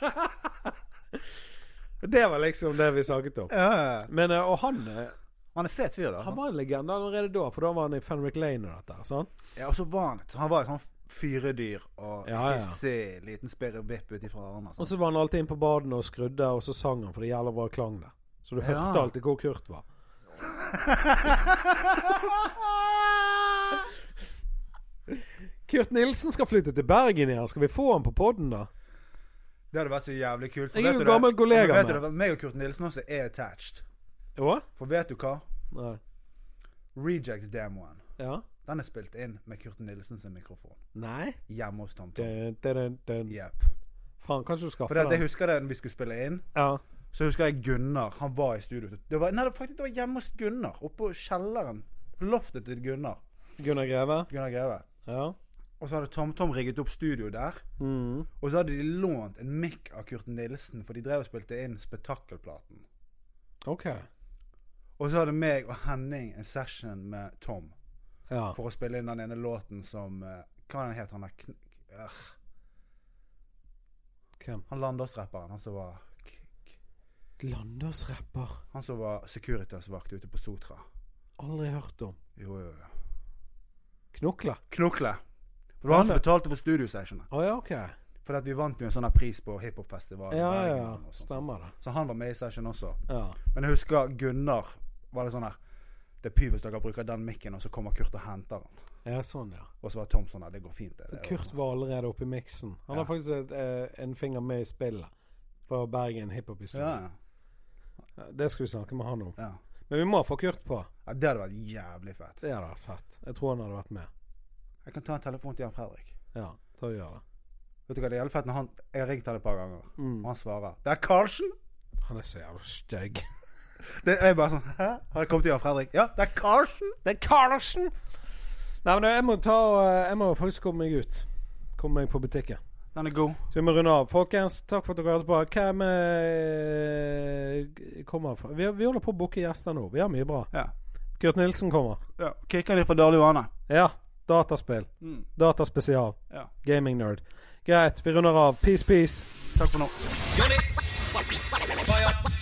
Speaker 1: det var liksom det vi snakket om.
Speaker 2: ja, ja.
Speaker 1: Men, eh, og han eh,
Speaker 2: Han er fet fyr, da.
Speaker 1: Han var en legende allerede da, for da var han i Fenrik Lane og dette. Sånn?
Speaker 2: Ja, og så var han Han var et sånn fyredyr og
Speaker 1: Ja, ja.
Speaker 2: hissig liten spirrevipp ut ifra armene.
Speaker 1: Og
Speaker 2: Sånn.
Speaker 1: så var han alltid inne på badene og skrudde, og så sang han, for det gjelder bare klang der. Så du
Speaker 2: Ja.
Speaker 1: hørte alltid hvor Kurt var. Kurt Nilsen skal flytte til Bergen igjen. Skal vi få han på poden, da?
Speaker 2: Det hadde vært så jævlig kult.
Speaker 1: Jeg er
Speaker 2: vet
Speaker 1: jo
Speaker 2: du det?
Speaker 1: gammel kollega
Speaker 2: Men
Speaker 1: med.
Speaker 2: Vet du det? Meg og Kurt Nilsen også er attached.
Speaker 1: Jo?
Speaker 2: For vet du hva?
Speaker 1: Nei.
Speaker 2: Rejects-demoen.
Speaker 1: Ja?
Speaker 2: Den er spilt inn med Kurt Nilsen sin mikrofon.
Speaker 1: Nei?
Speaker 2: Hjemme hos Tom Tom.
Speaker 1: Dun, dun, dun, dun.
Speaker 2: Yep.
Speaker 1: Faen, kanskje du
Speaker 2: For
Speaker 1: skaffer
Speaker 2: det, at jeg
Speaker 1: den?
Speaker 2: husker det når vi skulle spille inn.
Speaker 1: Ja.
Speaker 2: Så husker jeg Gunnar. Han var i studio. Det var, nei, det var faktisk det var hjemme hos Gunnar. Oppå kjelleren. På loftet til Gunnar.
Speaker 1: Gunnar Greve?
Speaker 2: Gunnar Greve.
Speaker 1: Ja.
Speaker 2: Og så hadde TomTom rigget opp studio der.
Speaker 1: Mm.
Speaker 2: Og så hadde de lånt en mic av Kurt Nilsen, for de drev og spilte inn Spetakkelplaten.
Speaker 1: OK.
Speaker 2: Og så hadde meg og Henning en session med Tom
Speaker 1: Ja.
Speaker 2: for å spille inn den ene låten som eh, Hva er den het han der kn... øh,
Speaker 1: Hvem?
Speaker 2: Han Landås-rapperen. Han som var k k
Speaker 1: Landåsrapper.
Speaker 2: Han som var Securitas-vakt ute på Sotra.
Speaker 1: Aldri hørt om.
Speaker 2: Jo, jo, jo.
Speaker 1: Knokle?
Speaker 2: Knokle. For det var han
Speaker 1: Han
Speaker 2: som
Speaker 1: er-
Speaker 2: betalte for studiosessionene.
Speaker 1: Å ja, OK.
Speaker 2: For at vi vant jo en sånn her pris på hiphopfestival. i
Speaker 1: Ja, ja,
Speaker 2: Bergen
Speaker 1: ja.
Speaker 2: og sånt.
Speaker 1: Stemmer det.
Speaker 2: Så han var med i session også.
Speaker 1: Ja.
Speaker 2: Men jeg husker Gunnar var det sånn her Det er pyvis dere bruker den mikken, og så kommer Kurt og henter den.
Speaker 1: ja, sånn, ja.
Speaker 2: Og så var Tom sånn her, det går fint. Det, det,
Speaker 1: Kurt var allerede oppe i miksen. Han
Speaker 2: Ja.
Speaker 1: har faktisk et, eh, en finger med i spillet. På Bergen hiphop-historie.
Speaker 2: Ja, ja,
Speaker 1: Det skal vi snakke med han om.
Speaker 2: ja.
Speaker 1: Men vi må få Kurt på.
Speaker 2: ja, det hadde vært jævlig fett.
Speaker 1: Det hadde vært fett. Jeg tror han hadde vært med.
Speaker 2: Jeg kan ta en telefon til Jan Fredrik.
Speaker 1: Ja, ta og gjør det.
Speaker 2: Vet du hva, det er jævlig fett når han Jeg har ringt han et par ganger,
Speaker 1: Mm.
Speaker 2: og han svarer 'Det er Karlsen'!
Speaker 1: Han er så jævla stygg.
Speaker 2: Det er jeg bare sånn 'Hæ? Har jeg kommet til Jan Fredrik?' 'Ja, det er Karlsen!'
Speaker 1: Det er Karlsen! Nei, men jeg må ta eh, Jeg må faktisk komme meg ut. Komme meg på butikken.
Speaker 2: Den er god.
Speaker 1: Så vi må runde av. Folkens, takk for at dere hørte på. Hvem eh, kommer fra vi, vi holder på å booke gjester nå. Vi har mye bra.
Speaker 2: Ja.
Speaker 1: Kurt Nilsen kommer.
Speaker 2: ja. Kicker de fra Dale Johanne.
Speaker 1: Ja. Dataspill.
Speaker 2: Mm.
Speaker 1: Dataspesial.
Speaker 2: Ja.
Speaker 1: Gaming nerd. Greit, vi runder av. Peace, peace.
Speaker 2: Takk for nå.
Speaker 4: Jonny. Fire.